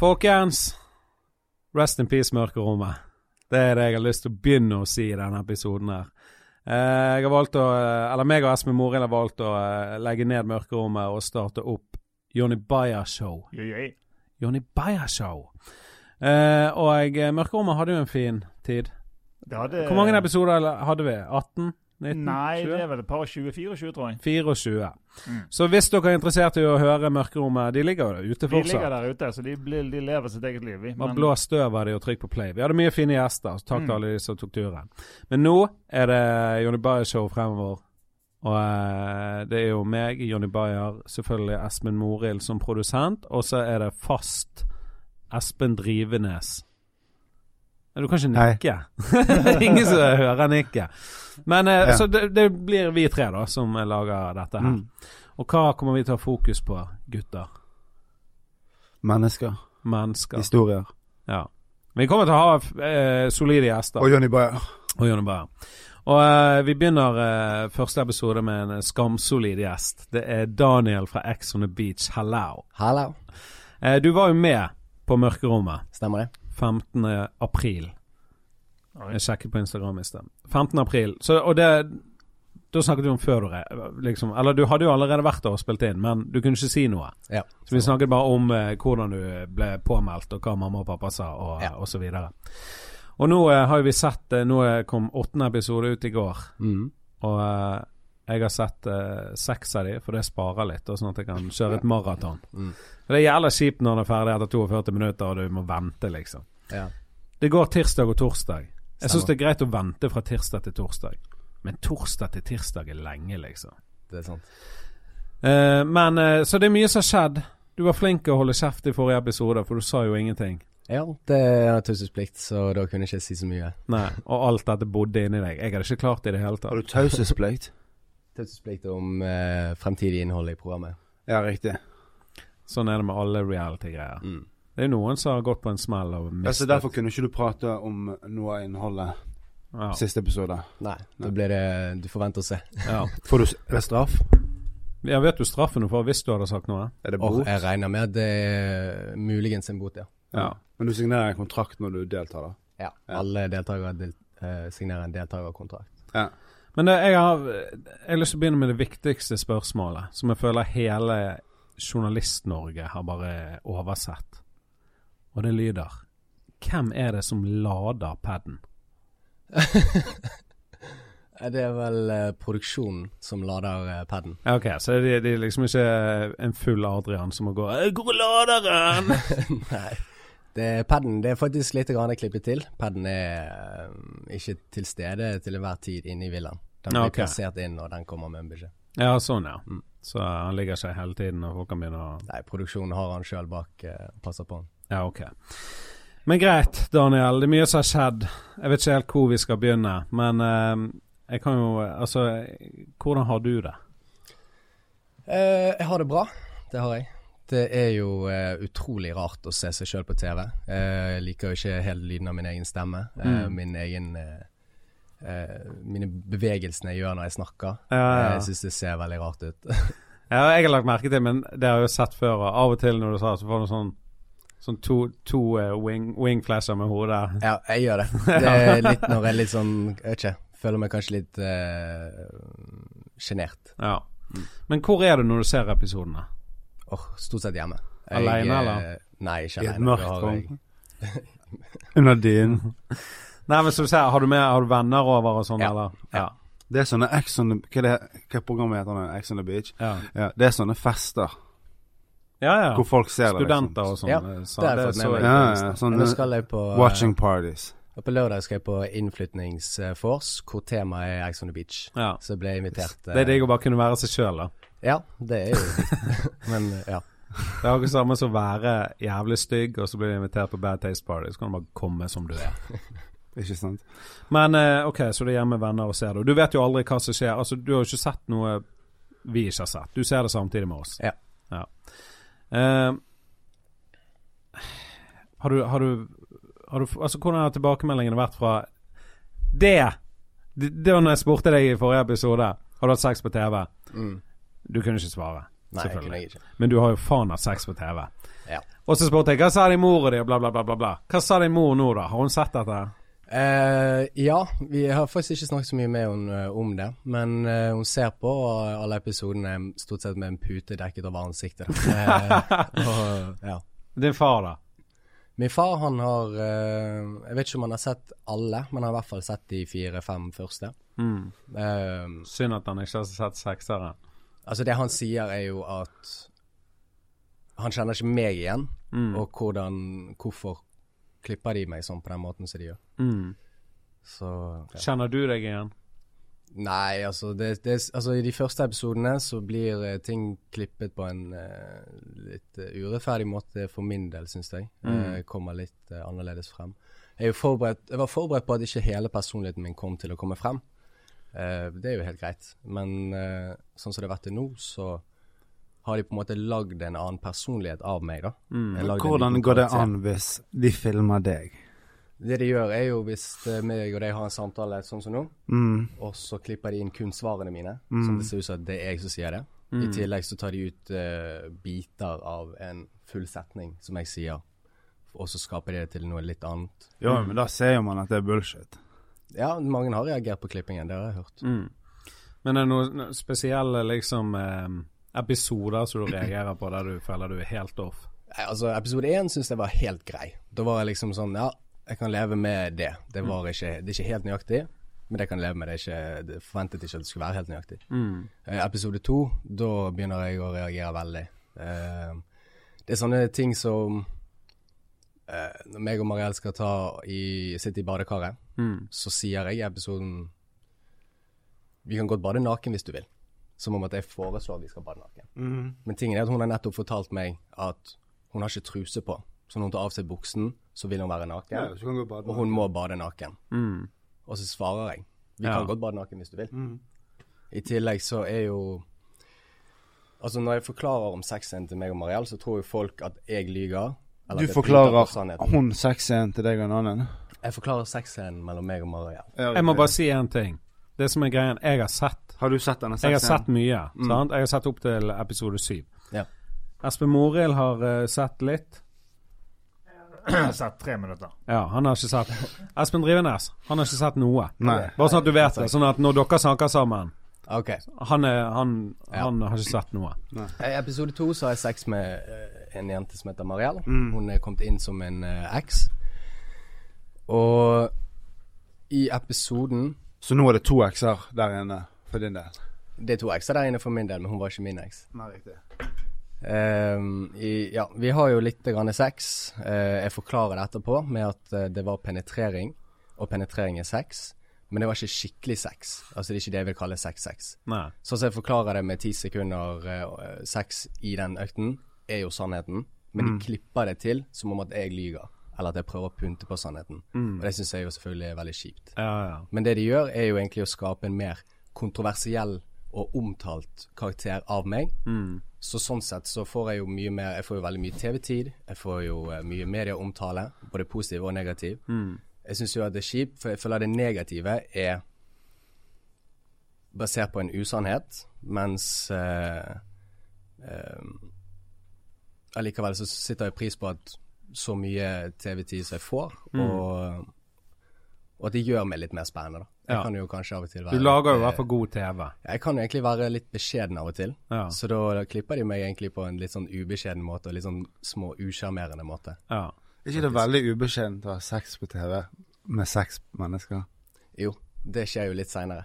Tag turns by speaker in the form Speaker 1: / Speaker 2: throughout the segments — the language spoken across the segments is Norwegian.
Speaker 1: Folkens, rest in peace, mørkerommet. Det er det jeg har lyst til å begynne å si i denne episoden her. Eh, Jeg har valgt å, eh, eller meg og Espen Morild har valgt å eh, legge ned mørkerommet og starte opp Jonny Bayer Show. Jonny Bayer Show. Eh, og eh, mørkerommet hadde jo en fin tid.
Speaker 2: Det hadde,
Speaker 1: Hvor mange episoder eller- hadde vi? 18? 19?
Speaker 2: Eh. Nei,
Speaker 1: 20?
Speaker 2: det er vel et par 20-24, tror jeg.
Speaker 1: 24.
Speaker 2: Mm.
Speaker 1: Så hvis dere er interessert i å høre Mørkerommet De ligger jo der ute
Speaker 2: De ligger
Speaker 1: fortsatt.
Speaker 2: der ute, så de, blir, de lever sitt eget liv. vi.
Speaker 1: Bare
Speaker 2: Men-
Speaker 1: blås støv av de og trykk på play. Vi hadde mye fine gjester, så takk
Speaker 2: Mm.
Speaker 1: til alle de som tok turen. Men nå er det Jonny Bayer-show fremover. Og eh, det er jo meg, Jonny Bayer, selvfølgelig Espen Morild som produsent, og så er det fast Espen Drivenes. Nei, Du kan ikke
Speaker 3: Hei.
Speaker 1: nikke. Det er Ingen som hører nikke. Men eh,
Speaker 3: Ja.
Speaker 1: så det, det blir vi tre da som lager dette her.
Speaker 3: Mm.
Speaker 1: Og hva kommer vi til å ha fokus på, gutter?
Speaker 3: Mennesker.
Speaker 1: Mennesker.
Speaker 3: Historier.
Speaker 1: Ja. Vi kommer til å ha eh, solide gjester.
Speaker 3: Og Johnny Bayer.
Speaker 1: Og Jonny Bayer. Og eh, vi begynner eh, første episode med en eh, skamsolid gjest. Det er Daniel fra Ex on the Beach. Hello.
Speaker 4: Hallo.
Speaker 1: Eh, du var jo med på Mørkerommet
Speaker 4: Stemmer det?
Speaker 1: 15. april.
Speaker 2: Oi.
Speaker 1: Jeg sjekket på Instagram i sted. 15. april. Så, og det Da snakket du om før du re- liksom Eller du hadde jo allerede vært der og spilt inn, men du kunne ikke si noe.
Speaker 4: Ja.
Speaker 1: Så vi snakket bare om eh, hvordan du ble påmeldt, og hva mamma og pappa sa, og,
Speaker 4: Ja.
Speaker 1: og så videre. Og nå eh, har jo vi sett eh, Nå eh, kom åttende episode ut i går,
Speaker 4: Mm.
Speaker 1: og eh, jeg har sett eh, seks av de, for det sparer litt, og sånn at jeg kan kjøre et maraton.
Speaker 4: Mm.
Speaker 1: For Det er jævla kjipt når den er ferdig etter 42 minutter, og du må vente, liksom.
Speaker 4: Ja.
Speaker 1: Det går tirsdag og torsdag. Jeg syns
Speaker 4: Stemmer.
Speaker 1: det er greit å vente fra tirsdag til torsdag, men torsdag til tirsdag er lenge, liksom.
Speaker 4: Det er sant.
Speaker 1: Eh, men eh, Så det er mye som har skjedd. Du var flink til å holde kjeft i forrige episode, for du sa jo ingenting.
Speaker 4: Ja, det er en taushetsplikt, så da kunne jeg ikke si så mye.
Speaker 1: Nei, Og alt dette bodde inni deg. Jeg hadde ikke klart det i det hele
Speaker 3: Har
Speaker 1: tatt.
Speaker 3: du taushetsplikt?
Speaker 4: Taushetsplikt om eh, fremtidig innhold i programmet.
Speaker 3: ja, riktig.
Speaker 1: Sånn er det med alle reality-greier.
Speaker 4: Mm.
Speaker 1: Det er noen som har gått på en smell og
Speaker 3: Ja, så
Speaker 1: mistet
Speaker 3: derfor kunne ikke du prate om noe av innholdet
Speaker 1: ja,
Speaker 3: siste episode.
Speaker 4: Nei, da blir det Du får vente og se.
Speaker 1: ja.
Speaker 3: Får du s- er det straff?
Speaker 1: Jeg vet jo straffen du får hvis du hadde sagt noe.
Speaker 3: Er det
Speaker 4: Og
Speaker 3: bot?
Speaker 4: jeg regner med at det er muligens en bot, ja.
Speaker 1: Ja.
Speaker 3: Men du signerer en kontrakt når du deltar, da?
Speaker 4: ja.
Speaker 3: Ja.
Speaker 4: Alle deltakere del, eh, signerer en deltakerkontrakt.
Speaker 3: Ja.
Speaker 1: Men det, jeg, har, eh, jeg har lyst til å begynne med det viktigste spørsmålet, som jeg føler hele Journalist-Norge har bare oversett. Og det lyder Hvem er det som lader paden?
Speaker 4: Eh, Det er vel eh, produksjonen som lader eh, paden.
Speaker 1: Ja, ok, så det, det er liksom ikke en full Adrian som må gå «Jeg går og lader den!»
Speaker 4: Nei. Det, padden det er faktisk litt grann klippet til. Padden er eh, ikke til stede til enhver tid inne i villaen. Den blir
Speaker 1: Ok.
Speaker 4: plassert inn, og den kommer med en beskjed.
Speaker 1: Ja, sånn, ja.
Speaker 4: Mm.
Speaker 1: Så han ligger ikke hele tiden, og folk kan begynne å
Speaker 4: Nei, produksjonen har han sjøl bak eh, og passer på han.
Speaker 1: Ja, ok. Men greit, Daniel. Det er mye som har skjedd. Jeg vet ikke helt hvor vi skal begynne, men eh, jeg kan jo Altså, hvordan har du det?
Speaker 4: Eh, jeg har det bra. Det har jeg. Det er jo eh, utrolig rart å se seg sjøl på TV. Eh, jeg liker jo ikke helt lyden av min egen stemme. eh,
Speaker 1: Mm.
Speaker 4: min egen eh, eh, Mine bevegelsene jeg gjør når jeg snakker. Eh,
Speaker 1: Ja, ja.
Speaker 4: Jeg syns det ser veldig rart ut.
Speaker 1: Ja, jeg har lagt merke til, men det har jeg jo sett før. Og av og til når du sa det, så får du sånn Sånn to, to eh, wing, wingflasher med hodet.
Speaker 4: ja, jeg gjør det. Det er litt når jeg er litt sånn Jeg vet ikke. Føler meg kanskje litt eh, sjenert.
Speaker 1: Ja. Men hvor er du når du ser episodene?
Speaker 4: Åh, stort sett hjemme.
Speaker 1: Alene,
Speaker 4: eh,
Speaker 1: eller?
Speaker 4: Nei, ikke alene.
Speaker 3: I et
Speaker 4: Da
Speaker 3: mørkt
Speaker 4: har jeg-
Speaker 3: rom? Under dynen.
Speaker 1: Nei, men som du sier, har du med Har du venner over og sånn,
Speaker 4: Ja.
Speaker 1: eller? Ja.
Speaker 3: Det er sånne Ex on the Hva, er det, hva programmet heter det? Ex on the Beach?
Speaker 1: Ja,
Speaker 3: Ja, det er sånne fester
Speaker 1: ja. ja.
Speaker 3: hvor folk ser liksom.
Speaker 1: Studenter og
Speaker 3: det.
Speaker 1: sånn.
Speaker 4: liksom? Ja,
Speaker 1: eh, sa-
Speaker 4: det har jeg
Speaker 1: det
Speaker 4: fått med
Speaker 1: så
Speaker 4: meg.
Speaker 1: jeg.
Speaker 3: liksom. Ja, ja,
Speaker 4: Men
Speaker 3: sånne
Speaker 4: Nå skal jeg på eh,
Speaker 3: watching parties.
Speaker 4: Og På lørdag skal jeg på innflytningsvors, hvor temaet er Ex on the Beach.
Speaker 1: Ja.
Speaker 4: Så ble jeg invitert. eh,
Speaker 1: Det er digg å bare kunne være seg sjøl, da.
Speaker 4: Ja, det er jo Men ja.
Speaker 1: Det er jo ikke samme som å være jævlig stygg, og så blir du invitert på Bad Taste Party. Så kan du bare komme som du er.
Speaker 3: Ikke sant?
Speaker 1: Men eh, ok, så du er hjemme med venner og ser det. Og du vet jo aldri hva som skjer. Altså, du har jo ikke sett noe vi ikke har sett. Du ser det samtidig med oss.
Speaker 4: Ja.
Speaker 1: Ja. Eh, har du, har du, har du Altså, hvordan har tilbakemeldingene vært fra det? Det det var når jeg spurte deg i forrige episode. Har du hatt sex på TV?
Speaker 4: Mm.
Speaker 1: Du kunne ikke svare.
Speaker 4: Nei, jeg kunne
Speaker 1: Selvfølgelig.
Speaker 4: jeg ikke.
Speaker 1: Men du har jo faen hatt sex på TV.
Speaker 4: Ja.
Speaker 1: Og så spurte jeg hva sa din mor og de, og bla, bla, bla, bla, bla. Hva sa din mor nå, da? Har hun sett dette?
Speaker 4: Eh, ja, vi har faktisk ikke snakket så mye med henne eh, om det. Men eh, hun ser på og alle episodene er stort sett med en pute dekket over ansiktet. Eh, og, ja.
Speaker 1: Din far, da?
Speaker 4: Min far han har eh, Jeg vet ikke om han har sett alle, men han har i hvert fall sett de fire-fem første.
Speaker 1: Mm.
Speaker 4: Eh,
Speaker 1: Synd at han ikke har sett sekseren.
Speaker 4: altså, det han sier, er jo at han kjenner ikke meg igjen,
Speaker 1: Mm.
Speaker 4: og hvordan Hvorfor klipper de meg sånn på den måten som de gjør?
Speaker 1: Mm.
Speaker 4: Så ja.
Speaker 1: Kjenner du deg igjen?
Speaker 4: Nei, altså, det, det, altså I de første episodene så blir eh, ting klippet på en eh, litt eh, urettferdig måte for min del, syns jeg. Eh, kommer litt eh, annerledes frem. Jeg, er jo forberedt, jeg var forberedt på at ikke hele personligheten min kom til å komme frem. Eh, det er jo helt greit. Men eh, sånn som det har vært til nå, så har de på en måte lagd en annen personlighet av meg, da. Jeg lagde en
Speaker 3: Hvordan
Speaker 4: liten
Speaker 3: går det
Speaker 4: karakter.
Speaker 3: an hvis de filmer deg?
Speaker 4: Det de gjør, er jo hvis eh, meg og deg har en samtale sånn som nå.
Speaker 3: Mm.
Speaker 4: Og så klipper de inn kun svarene mine, som det ser ut som at det er jeg som sier det. I tillegg så tar de ut eh, biter av en full setning som jeg sier, og så skaper de det til noe litt annet.
Speaker 3: Jo, men da ser jo man at det er bullshit.
Speaker 4: Ja, mange har reagert på klippingen, det har jeg hørt.
Speaker 1: Mm. Men er det noen noen spesielle liksom eh, episoder som du reagerer på der du føler du er helt off?
Speaker 4: Nei, Altså, episode én syns jeg var helt grei. Da var jeg liksom sånn Ja, jeg kan leve med det. Det, var ikke, det er ikke helt nøyaktig, men jeg kan leve med det. Jeg er Ikke, det forventet ikke at det skulle være helt nøyaktig. Eh, episode to, da begynner jeg å reagere veldig. Eh, det er sånne ting som eh, Når meg og Mariell skal ta i, sitte i badekaret,
Speaker 1: Mm.
Speaker 4: så sier jeg i episoden Vi kan godt bade naken hvis du vil. Som om at jeg foreslår at vi skal bade naken. Men tingen er at hun har nettopp fortalt meg at hun har ikke truse på. Så når hun tar av seg buksen, så vil hun være naken. og hun må bade naken.
Speaker 1: Mm.
Speaker 4: Og så svarer jeg. Vi
Speaker 1: Ja.
Speaker 4: kan godt bade naken hvis du vil. I tillegg så er jo Altså når jeg forklarer om sexen til meg og Mariell, så tror jo folk at jeg lyger. eller at
Speaker 3: Du
Speaker 4: jeg pynter på
Speaker 3: forklarer
Speaker 4: sannheten.
Speaker 3: hun sexen til deg og en annen?
Speaker 4: Jeg forklarer sexen mellom meg og Mariell.
Speaker 1: Jeg må bare si én ting. Det som er greien, jeg har sett
Speaker 3: Har du sett denne sexen?
Speaker 1: Jeg har sett mye. sant? Jeg har sett opp til episode syv.
Speaker 4: Ja.
Speaker 1: Espen Morild har eh, sett litt.
Speaker 2: Jeg har sett tre minutter.
Speaker 1: Ja, han har ikke sett Espen Drivenes, han har ikke sett noe.
Speaker 3: Nei.
Speaker 1: Bare sånn at du vet det. Sånn at når dere snakker sammen
Speaker 4: OK.
Speaker 1: Han, er, han, han har ikke sett noe.
Speaker 4: I Eh, episode to så har jeg sex med eh, en jente som heter Mariell. Hun er kommet inn som en eh, eks. Og i episoden
Speaker 3: Så nå er det to ekser der inne for din del?
Speaker 4: Det er to ekser der inne for min del, men hun var ikke min eks.
Speaker 3: Nei, riktig.
Speaker 4: Ehm, i, ja, vi har jo litt grann sex. Eh, jeg forklarer det etterpå med at eh, det var penetrering, og penetrering er sex. Men det var ikke skikkelig sex. Altså det er ikke det jeg vil kalle sex-sex.
Speaker 1: Nei.
Speaker 4: Sånn som jeg forklarer det med ti sekunder eh, sex i den økten, er jo sannheten. Men de klipper det til som om at jeg lyger, eller at jeg prøver å pynte på sannheten. Og det syns jeg jo selvfølgelig er veldig kjipt.
Speaker 1: Ja, ja.
Speaker 4: Men det de gjør, er jo egentlig å skape en mer kontroversiell og omtalt karakter av meg. Så sånn sett så får jeg jo mye mer Jeg får jo veldig mye TV-tid. Jeg får jo eh, mye medieomtale, både positiv og negativ.
Speaker 1: Mm.
Speaker 4: Jeg syns jo at det er kjipt, for jeg føler det negative er basert på en usannhet, mens eh, eh, Allikevel så sitter jeg pris på at så mye TV-tid som jeg får,
Speaker 1: Mm.
Speaker 4: og og at det gjør meg litt mer spennende, da. Jeg
Speaker 1: Ja.
Speaker 4: kan jo kanskje av og til være
Speaker 1: Du lager jo i
Speaker 4: litt,
Speaker 1: hvert fall god TV.
Speaker 4: eh, Jeg kan jo egentlig være litt beskjeden av og til.
Speaker 1: Ja.
Speaker 4: Så da klipper de meg egentlig på en litt sånn ubeskjeden måte, og litt sånn små usjarmerende måte.
Speaker 1: Ja.
Speaker 3: Er ikke det veldig ubeskjedent å ha sex på TV med seks mennesker?
Speaker 4: Jo, det skjer jo litt Eh, seinere.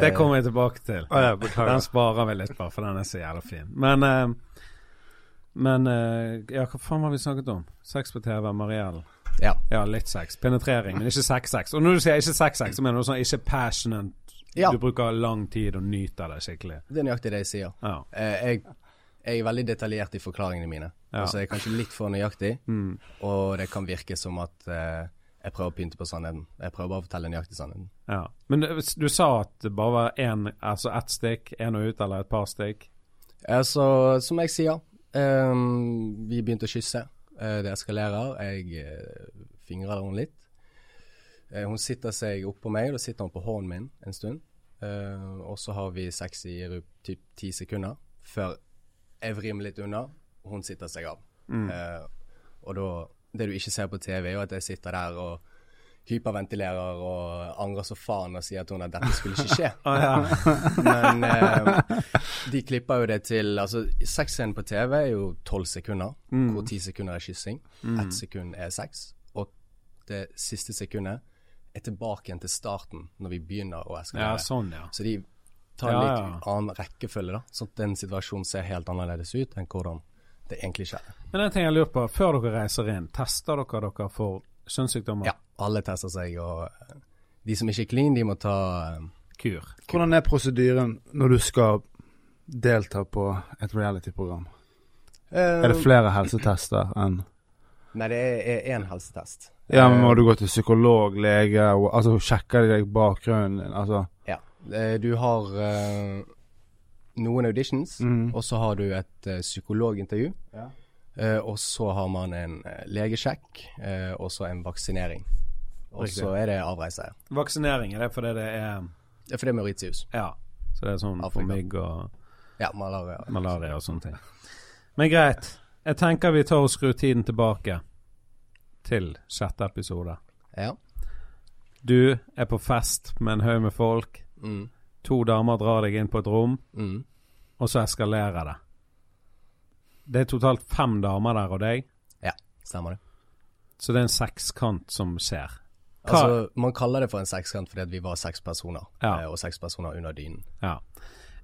Speaker 1: Det kommer jeg tilbake til.
Speaker 3: Å ja, beklager.
Speaker 1: Den sparer vi litt, bare, for den er så jævla fin. Men eh, Men eh, Ja, hva faen var vi snakket om? Sex på TV, Mariell.
Speaker 4: Ja.
Speaker 1: Ja, litt sex. Penetrering, men ikke sex-sex. Og når du sier ikke sex-sex, så mener du sånn ikke passionate.
Speaker 4: Ja.
Speaker 1: Du bruker lang tid og nyter det skikkelig.
Speaker 4: Det er nøyaktig det jeg sier.
Speaker 1: Ja.
Speaker 4: Eh, jeg, jeg er veldig detaljert i forklaringene mine.
Speaker 1: Ja. Mm.
Speaker 4: Altså, jeg er kanskje litt for nøyaktig, og det kan virke som at eh, jeg prøver å pynte på sannheten. Jeg prøver bare å fortelle nøyaktig sannheten.
Speaker 1: ja. Men du, du sa at det bare var én, altså ett stikk, én og ut, eller et par stikk.
Speaker 4: Eh, Så som jeg sier, ehm, vi begynte å kysse. Eh, det eskalerer. Jeg uh, fingrer henne litt. Eh, hun sitter seg oppå meg, og da sitter hun på hånden min en stund. Eh, og så har vi sex i ru- typ ti sekunder før Jeg vrir meg litt unna, hun sitter seg av. Eh, og da Det du ikke ser på TV, er jo at jeg sitter der og hyperventilerer og angrer så faen og sier til henne at dette skulle ikke skje. Men eh, de klipper jo det til Altså, sexscenen på TV er jo tolv sekunder,
Speaker 1: Mm.
Speaker 4: hvor ti sekunder er kyssing, ett sekund er sex, og det siste sekundet er tilbake igjen til starten, når vi begynner å eskalere.
Speaker 1: Ja, sånn, ja.
Speaker 4: Så de tar en
Speaker 1: Ja,
Speaker 4: litt
Speaker 1: ja.
Speaker 4: annen rekkefølge, da. Sånn at den situasjonen ser helt annerledes ut enn hvordan det egentlig skjer.
Speaker 1: Men en ting jeg lurer på, før dere reiser inn, tester dere dere for kjønnssykdommer?
Speaker 4: Ja, alle tester seg, og eh, de som ikke er clean, de må ta eh,
Speaker 1: Kur.
Speaker 3: Hvordan er prosedyren når du skal delta på et reality-program? Er det flere helsetester enn
Speaker 4: Eh, Nei, det er- er én helsetest.
Speaker 3: Ja, men må du gå til psykolog, lege, og, altså sjekke deg bakgrunnen din, altså
Speaker 4: Ja. Eh, Du har eh, noen auditions,
Speaker 1: Mm.
Speaker 4: og så har du et eh, psykologintervju. Eh, og så har man en eh, legesjekk, eh, og så en vaksinering. Og så er det avreise.
Speaker 1: Vaksinering, er det fordi det er
Speaker 4: Det er fordi det er Mauritius.
Speaker 1: Ja. Så det er sånn
Speaker 4: Afrika.
Speaker 1: for mygg og
Speaker 4: Ja, malaria.
Speaker 1: malaria og sånne ting. Men greit. Jeg tenker vi tar og skrur tiden tilbake til sjette episode.
Speaker 4: Ja.
Speaker 1: Du er på fest med en haug med folk.
Speaker 4: Mm.
Speaker 1: To damer drar deg inn på et rom,
Speaker 4: Mm.
Speaker 1: og så eskalerer det. Det er totalt fem damer der og deg,
Speaker 4: Ja, stemmer det.
Speaker 1: så det er en sekskant som skjer. Hva-
Speaker 4: Altså, man kaller det for en sekskant fordi at vi var seks personer,
Speaker 1: Ja.
Speaker 4: eh, og seks personer under dynen.
Speaker 1: Ja.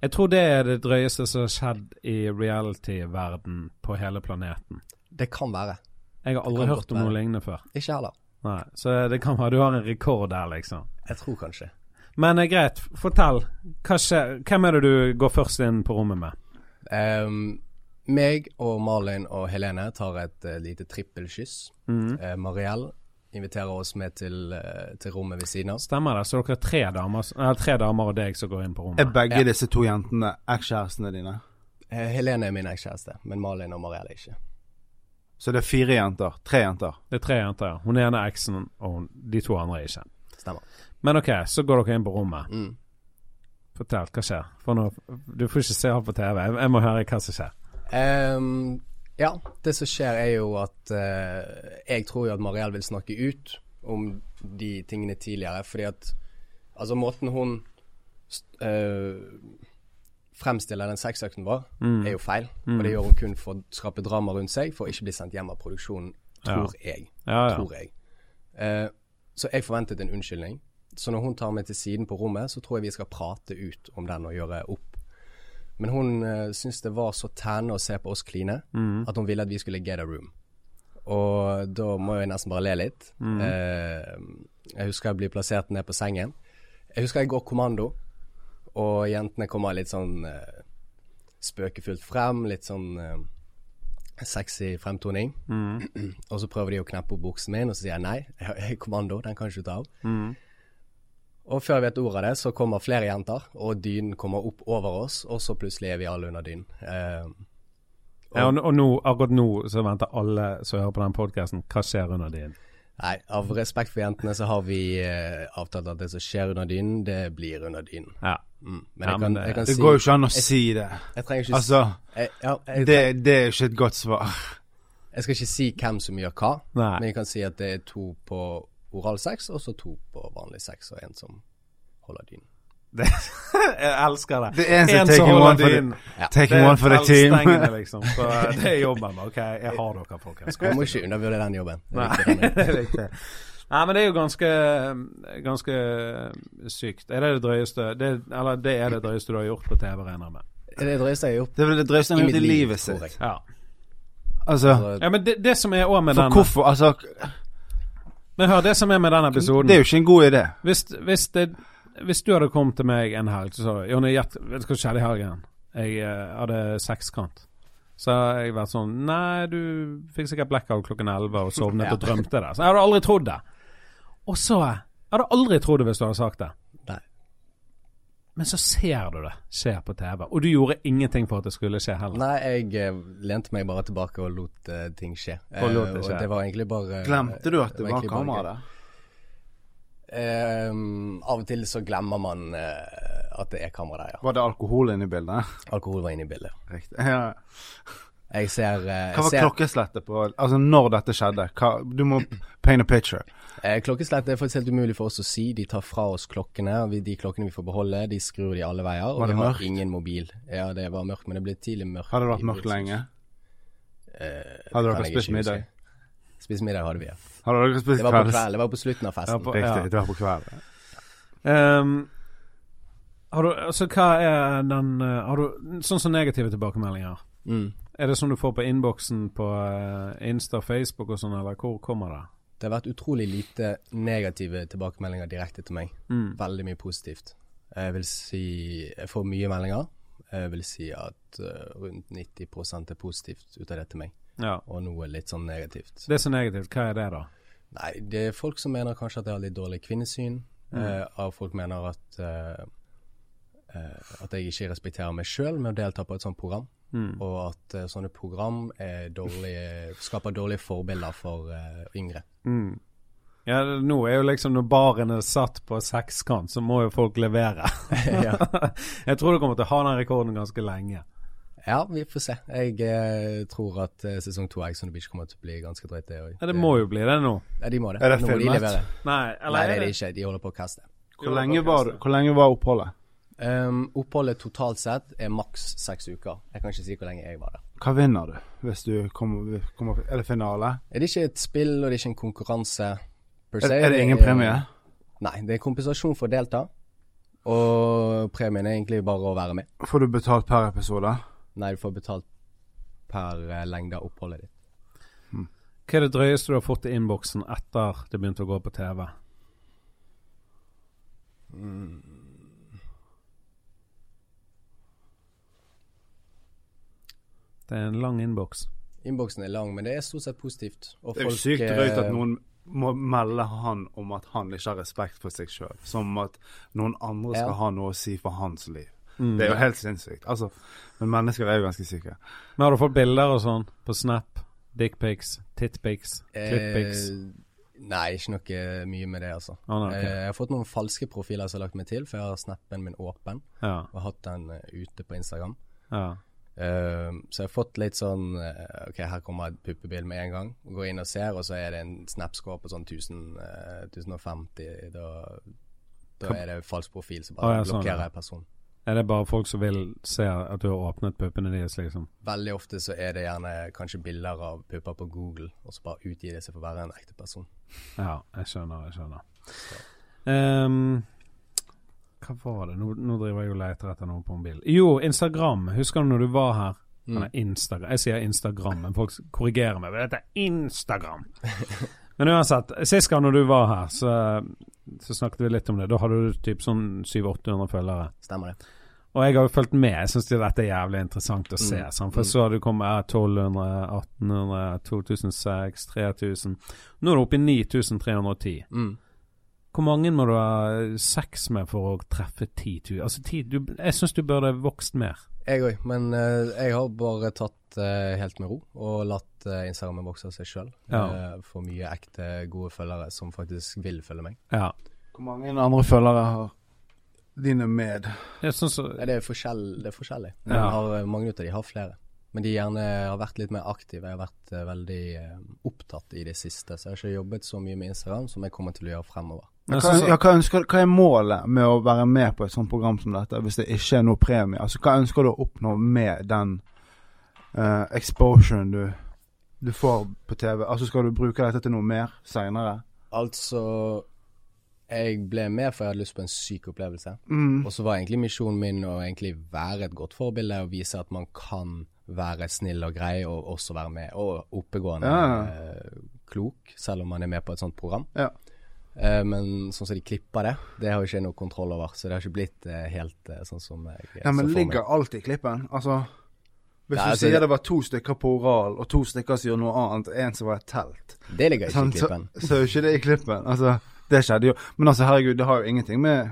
Speaker 1: Jeg tror det er det drøyeste som har skjedd i reality-verden på hele planeten.
Speaker 4: Det kan være.
Speaker 1: Jeg har aldri
Speaker 4: kan
Speaker 1: hørt
Speaker 4: godt
Speaker 1: om noe
Speaker 4: være.
Speaker 1: lignende før.
Speaker 4: Ikke heller.
Speaker 1: Nei, Så det kan være du har en rekord der, liksom.
Speaker 4: Jeg tror kanskje.
Speaker 1: Men eh, greit, f- fortell. Hva skjer? Hvem er det du går først inn på rommet med?
Speaker 4: Ehm, meg og Malin og Helene tar et eh, lite trippelkyss. Eh, Mariell inviterer oss med til, eh, til rommet ved siden av.
Speaker 1: Stemmer det? Så dere er tre damer, s- nei, tre damer og deg som går inn på
Speaker 3: Er
Speaker 1: rommet?
Speaker 3: begge disse to jentene ekskjærestene dine?
Speaker 4: Eh, Helene er min ekskjæreste, men Malin og Mariell er ikke.
Speaker 3: Så det er fire jenter? Tre jenter?
Speaker 1: Det er tre jenter, ja. Hun ene er eksen, og hun, de to andre er ikke.
Speaker 4: Stemmer.
Speaker 1: Men OK, så går dere inn på rommet.
Speaker 4: Mm.
Speaker 1: Fortell, hva skjer? For nå, du får ikke se alt på TV. Jeg, jeg må høre hva som skjer.
Speaker 4: Ehm, ja, det som skjer er jo at eh, Jeg tror jo at Mariell vil snakke ut om de tingene tidligere, fordi at Altså, måten hun st- eh, fremstiller den sexøkten vår, er jo feil. Og det gjør hun kun for å skape drama rundt seg, for å ikke bli sendt hjem av produksjonen, tror jeg.
Speaker 1: Ja, ja.
Speaker 4: Tror jeg. Eh, så jeg forventet en unnskyldning. Så når hun tar meg til siden på rommet, så tror jeg vi skal prate ut om den og gjøre opp. Men hun uh, syntes det var så tærende å se på oss kline
Speaker 1: Mm.
Speaker 4: at hun ville at vi skulle get a room. Og da må jeg nesten bare le litt.
Speaker 1: Mm.
Speaker 4: Eh, jeg husker jeg blir plassert ned på sengen. Jeg husker jeg går kommando, og jentene kommer litt sånn eh, spøkefullt frem. Litt sånn eh, sexy fremtoning.
Speaker 1: Mm.
Speaker 4: og så prøver de å kneppe opp buksen min, og så sier jeg nei. Jeg har kommando, den kan du ikke ta av.
Speaker 3: Mm.
Speaker 4: Og før jeg vet ordet av det, så kommer flere jenter, og dynen kommer opp over oss, og så plutselig er vi alle under dynen. Eh,
Speaker 1: Ja, og, og nå, akkurat nå så venter alle som hører på den podkasten, hva skjer under din?
Speaker 4: Nei, av respekt for jentene så har vi eh, avtalt at det som skjer under dynen, det blir under dynen.
Speaker 1: Ja.
Speaker 4: Mm. Men
Speaker 1: Ja,
Speaker 4: jeg
Speaker 1: men
Speaker 4: kan,
Speaker 1: det-
Speaker 4: jeg kan
Speaker 3: Det
Speaker 4: si
Speaker 3: går jo ikke an å si det.
Speaker 4: Jeg trenger ikke
Speaker 3: Altså,
Speaker 4: jeg, ja, jeg,
Speaker 3: det, det er jo ikke et godt svar.
Speaker 4: jeg skal ikke si hvem som gjør hva,
Speaker 1: Nei.
Speaker 4: men jeg kan si at det er to på oralsex, og så to på vanlig sex, og en som holder dynen.
Speaker 1: Jeg elsker det.
Speaker 3: Det er en som
Speaker 1: En som
Speaker 3: taking
Speaker 1: holder
Speaker 3: one for
Speaker 1: din.
Speaker 3: the, taking one for the team.
Speaker 1: Stengene, liksom. Så det er jobben. min. OK, jeg har dere, folkens.
Speaker 4: Man må ikke undervurdere den jobben. Det er
Speaker 1: Nei,
Speaker 4: viktig, den er-
Speaker 1: det er riktig. Nei, men det er jo ganske, ganske sykt. Er det det drøyeste det, Eller det er det drøyeste du har gjort på TV, regner jeg med.
Speaker 4: Det er det drøyeste jeg har gjort
Speaker 3: Det er vel det drøyeste han har gjort i livet
Speaker 4: tror jeg.
Speaker 3: sitt.
Speaker 1: Ja,
Speaker 3: Altså,
Speaker 1: ja men det, det som er også med
Speaker 3: for
Speaker 1: den
Speaker 3: hvorfor Altså,
Speaker 1: Men hør, det som er med den episoden
Speaker 3: det er jo ikke en god idé.
Speaker 1: hvis, hvis, det, hvis du hadde kommet til meg en helg, så sa du Jonny, gjett vet du hva som skjedde i helgen? Jeg eh, hadde sekskant. Så hadde jeg vært sånn Nei, du fikk sikkert blackout klokken elleve og sovnet
Speaker 4: Ja.
Speaker 1: og drømte det. Så jeg hadde aldri trodd det. Og så Jeg hadde aldri trodd det hvis du hadde sagt det.
Speaker 4: Nei.
Speaker 1: Men så ser du det skjer på TV, og du gjorde ingenting for at det skulle skje heller.
Speaker 4: Nei, jeg eh, lente meg bare tilbake og lot eh, ting skje. Eh,
Speaker 1: Og lot det skje.
Speaker 4: og det var egentlig bare eh,
Speaker 3: Glemte du at det var
Speaker 4: egentlig bare gøy.
Speaker 3: kamera der?
Speaker 4: Ehm, av og til så glemmer man eh, at det er kamera der, ja.
Speaker 3: Var det alkohol inne i bildet?
Speaker 4: Alkohol var inne i bildet.
Speaker 3: Riktig. Ja.
Speaker 4: Jeg ser, eh,
Speaker 3: Hva var
Speaker 4: ser
Speaker 3: klokkeslettet på Altså, når dette skjedde? Hva, du må paint a picture.
Speaker 4: eh, Klokkeslett er faktisk helt umulig for oss å si. De tar fra oss klokkene. og vi- De klokkene vi får beholde, de skrur de alle veier. Og
Speaker 3: Var det
Speaker 4: vi har
Speaker 3: mørkt?
Speaker 4: ingen mobil. Ja, det var mørkt, men det ble tidlig mørkt.
Speaker 3: Hadde det
Speaker 4: i
Speaker 3: vært mørkt
Speaker 4: Brussel.
Speaker 3: lenge?
Speaker 4: Eh, det
Speaker 3: Hadde dere
Speaker 4: kan jeg ikke
Speaker 3: spist middag?
Speaker 4: huske. Spist middag hadde vi, ja.
Speaker 3: Hadde dere spist
Speaker 4: Det var på
Speaker 3: kvelds-
Speaker 4: kveld, det var på slutten av
Speaker 1: Ja,
Speaker 4: festen.
Speaker 1: på-
Speaker 3: Riktig, det var på kvelden.
Speaker 1: Ehm, har du, altså hva er den eh, har du, Sånn som negative tilbakemeldinger.
Speaker 4: Mm.
Speaker 1: Er det sånn du får på innboksen på eh, Insta, Facebook og sånn, eller hvor kommer det?
Speaker 4: Det har vært utrolig lite negative tilbakemeldinger direkte til meg.
Speaker 1: Mm.
Speaker 4: Veldig mye positivt. Jeg vil si Jeg får mye meldinger. Jeg vil si at eh, rundt 90 er positivt ut av det til meg,
Speaker 1: Ja.
Speaker 4: og noe litt sånn negativt.
Speaker 1: Det er så negativt. Hva er det, da?
Speaker 4: Nei, det er folk som mener kanskje at jeg har litt dårlig kvinnesyn. eh, og folk mener at eh, eh, at jeg ikke respekterer meg sjøl med å delta på et sånt program.
Speaker 1: Mm.
Speaker 4: Og at eh, sånne program er dårlige, skaper dårlige forbilder for eh, yngre.
Speaker 1: Mm. Ja, det- nå er jo liksom når baren er satt på sekskant, så må jo folk levere.
Speaker 4: ja.
Speaker 1: Jeg tror du kommer til å ha den rekorden ganske lenge.
Speaker 4: Ja, vi får se. Jeg eh, tror at eh, sesong to av Ex on the Beach kommer til å bli ganske drøyt, det òg.
Speaker 1: Ja, det må jo bli det nå.
Speaker 4: Ja, de må det.
Speaker 3: Er det
Speaker 4: Nå må de
Speaker 3: filmet?
Speaker 4: levere.
Speaker 1: Nei, eller
Speaker 4: Nei, det
Speaker 1: er
Speaker 4: er det
Speaker 1: det
Speaker 4: ikke. De holder på å kaste.
Speaker 3: Hvor lenge var, du- hvor lenge var oppholdet?
Speaker 4: Um, oppholdet totalt sett er maks seks uker. Jeg kan ikke si hvor lenge jeg var der.
Speaker 3: Hva vinner du hvis du kommer, kommer Er det finale?
Speaker 4: Er det ikke et spill, og det er ikke en konkurranse per
Speaker 3: Er,
Speaker 4: se?
Speaker 3: er det ingen premie?
Speaker 4: Nei, det er kompensasjon for å delta. Og premien er egentlig bare å være med.
Speaker 3: Får du betalt per episode?
Speaker 4: Nei, du får betalt per eh, lengde av oppholdet ditt.
Speaker 1: Hva er det drøyeste du har fått i innboksen etter det begynte å gå på TV? Mm. Det er en lang innboks.
Speaker 4: Innboksen er lang, men det er stort sett positivt. Og
Speaker 3: Det er jo
Speaker 4: folk,
Speaker 3: sykt drøyt
Speaker 4: eh,
Speaker 3: at noen må melde han om at han ikke har respekt for seg sjøl. Som at noen andre skal
Speaker 4: Ja. Mm.
Speaker 3: ha noe å si for hans liv. Det er jo helt sinnssykt. Altså, men mennesker er jo ganske syke.
Speaker 1: Men har du fått bilder og sånn på Snap? Dickpics, titpics, tripppics?
Speaker 4: Eh, nei, ikke noe mye med det, altså.
Speaker 1: Å, Ah, nei, ok.
Speaker 4: eh, jeg har fått noen falske profiler som har lagt meg til, for jeg har snappen min åpen
Speaker 1: Ja,
Speaker 4: og hatt den eh, ute på Instagram.
Speaker 1: ja.
Speaker 4: Eh, så jeg har fått litt sånn eh, Ok, her kommer et puppebilde med en gang. Går inn og ser, og så er det en snapscore på sånn 1000, eh, 1050. Da, da er det falsk profil, så bare
Speaker 1: Å, ja, sånn,
Speaker 4: blokkerer
Speaker 1: ja.
Speaker 4: jeg personen.
Speaker 1: Er det bare folk som vil se at du har åpnet puppene deres, liksom?
Speaker 4: Veldig ofte så er det gjerne kanskje bilder av pupper på Google, og så bare utgi det seg for å være en ekte person.
Speaker 1: Ja, jeg skjønner, jeg skjønner. Ehm, hva var det? Nå, nå driver jeg og leter etter noe på mobilen. Jo, Instagram. Husker du når du var her? Eller Instagram. Jeg sier Instagram, men folk korrigerer meg. Dette er Instagram! Men uansett, sist gang når du var her, så, så snakket vi litt om det. Da hadde du typ sånn 700-800 følgere.
Speaker 4: Stemmer det?
Speaker 1: Og jeg har jo fulgt med. Jeg syns dette er jævlig interessant å se. sant? For jeg så du kom her 1200, 1800, 2006, 3000. Nå er du oppe i 9310.
Speaker 4: Mm.
Speaker 1: Hvor mange må du ha eh, sex med for å treffe 10 000? Altså, 10 du, jeg syns du burde vokst mer.
Speaker 4: Jeg òg, men eh, jeg har bare tatt eh, helt med ro og latt eh, Instagram vokse av seg sjøl.
Speaker 1: Ja.
Speaker 4: for mye ekte, gode følgere som faktisk vil følge meg.
Speaker 1: Ja.
Speaker 3: Hvor mange andre følgere har dine med?
Speaker 1: Jeg synes, så-
Speaker 4: Nei, det, er forskjell, det er forskjellig.
Speaker 1: Ja.
Speaker 4: Jeg Har, eh, mange av de har flere. Men de gjerne har vært litt mer aktive. Jeg har vært eh, veldig eh, opptatt i det siste. Så jeg har ikke jobbet så mye med Instagram som jeg kommer til å gjøre fremover.
Speaker 1: jeg
Speaker 3: Hva,
Speaker 1: synes, så-
Speaker 3: ja, hva, ønsker, hva er målet med å være med på et sånt program som dette, hvis det ikke er noe premie? Altså, hva ønsker du å oppnå med den eh, exposuren du, du får på TV? Altså, skal du bruke dette til noe mer seinere?
Speaker 4: Altså, jeg ble med for jeg hadde lyst på en syk opplevelse.
Speaker 3: Mm.
Speaker 4: Og så var egentlig misjonen min å egentlig være et godt forbilde og vise at man kan være snill og grei og også være med, og oppegående
Speaker 3: Ja.
Speaker 4: eh, klok, selv om man er med på et sånt program.
Speaker 3: Ja.
Speaker 4: Eh, men sånn som de klipper det, det har jo ikke jeg noe kontroll over, så det har ikke blitt eh, helt eh, sånn som jeg eh,
Speaker 3: Ja, men
Speaker 4: så for meg.
Speaker 3: ligger alt i klippen? Altså Hvis
Speaker 4: Nei,
Speaker 3: du
Speaker 4: altså,
Speaker 3: sier
Speaker 4: det-
Speaker 3: det var to stykker på oral, og to stykker som gjør noe annet, en som var i et telt
Speaker 4: Det ligger ikke
Speaker 3: sant,
Speaker 4: i
Speaker 3: Så
Speaker 4: klippen.
Speaker 3: så er jo ikke det i klippen. Altså, det skjedde jo. Men altså, herregud, det har jo ingenting med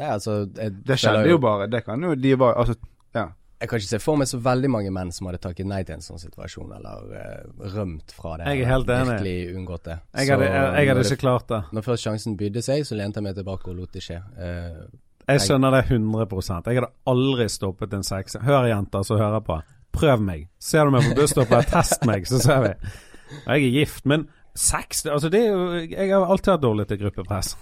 Speaker 4: Nei, altså, jeg,
Speaker 3: Det skjedde jo bare. Det kan jo de var Altså, ja.
Speaker 4: Jeg kan ikke se for meg så veldig mange menn som hadde takket nei til en sånn situasjon, eller eh, rømt fra det.
Speaker 1: Jeg er
Speaker 4: eller
Speaker 1: helt enig.
Speaker 4: Virkelig unngått det.
Speaker 1: jeg, hadde,
Speaker 4: Så
Speaker 1: jeg, jeg hadde
Speaker 4: når
Speaker 1: ikke klart det.
Speaker 4: Når først sjansen bydde seg, så lente jeg meg tilbake og lot det skje. Eh,
Speaker 1: Jeg skjønner det 100 Jeg hadde aldri stoppet en seks. Hør, jenter som hører på. Prøv meg. Ser du meg på busstoppet, test meg, så ser vi. Og Jeg er gift, men seks det- altså det er jo, Jeg har alltid hatt dårlig til gruppepress.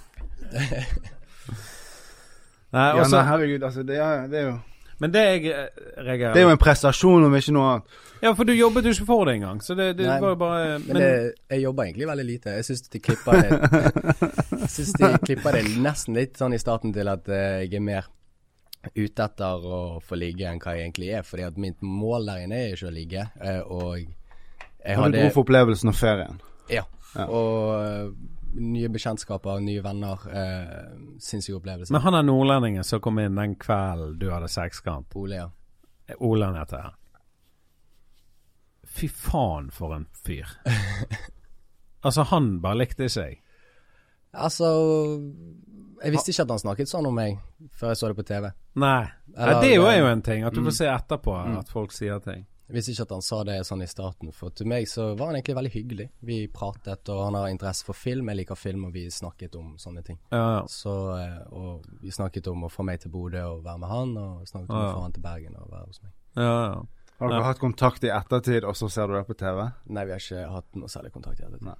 Speaker 1: Nei,
Speaker 3: Ja, nei,
Speaker 1: også,
Speaker 3: herregud, altså. Det er, det er jo
Speaker 1: men det jeg eh, reagerer
Speaker 3: Det er jo en prestasjon, om ikke noe annet.
Speaker 1: Ja, for du jobbet jo ikke for det engang. Så det, det
Speaker 4: Nei,
Speaker 1: var jo bare
Speaker 4: Men, det, jeg jobber egentlig veldig lite. Jeg syns de klipper det Jeg synes de klipper det nesten litt sånn i starten til at eh, jeg er mer ute etter å få ligge enn hva jeg egentlig er. Fordi at mitt mål der inne er ikke å ligge. eh, Og jeg
Speaker 3: Og du
Speaker 4: hadde
Speaker 3: dro for opplevelsen og ferien.
Speaker 4: Ja. Og eh, nye bekjentskaper, nye venner. Eh, Sinnssyke opplevelser.
Speaker 1: Men han er nordlendingen som kom inn den kvelden du hadde sexkamp.
Speaker 4: Ole, ja.
Speaker 1: Olan heter han. Fy faen for en fyr. altså, han bare likte seg.
Speaker 4: Altså Jeg visste ikke at han snakket sånn om meg før jeg så det på TV.
Speaker 1: Nei. Nei
Speaker 4: Eller- Mm.
Speaker 1: det er jo- er jo en ting, at du får se etterpå at folk sier ting.
Speaker 4: Jeg visste ikke at han sa det sånn i starten, for til meg så var han egentlig veldig hyggelig. Vi pratet, og han har interesse for film. Jeg liker film, og vi snakket om sånne ting.
Speaker 1: Ja, ja.
Speaker 4: Så, eh, og vi snakket om å få meg til Bodø og være med han, og snakket om å
Speaker 1: Ja.
Speaker 4: få han til Bergen og være hos meg.
Speaker 1: ja, ja.
Speaker 3: Har dere hatt kontakt i ettertid, og så ser du det på TV?
Speaker 4: Nei, vi har ikke hatt noe særlig kontakt i det.
Speaker 3: Nei.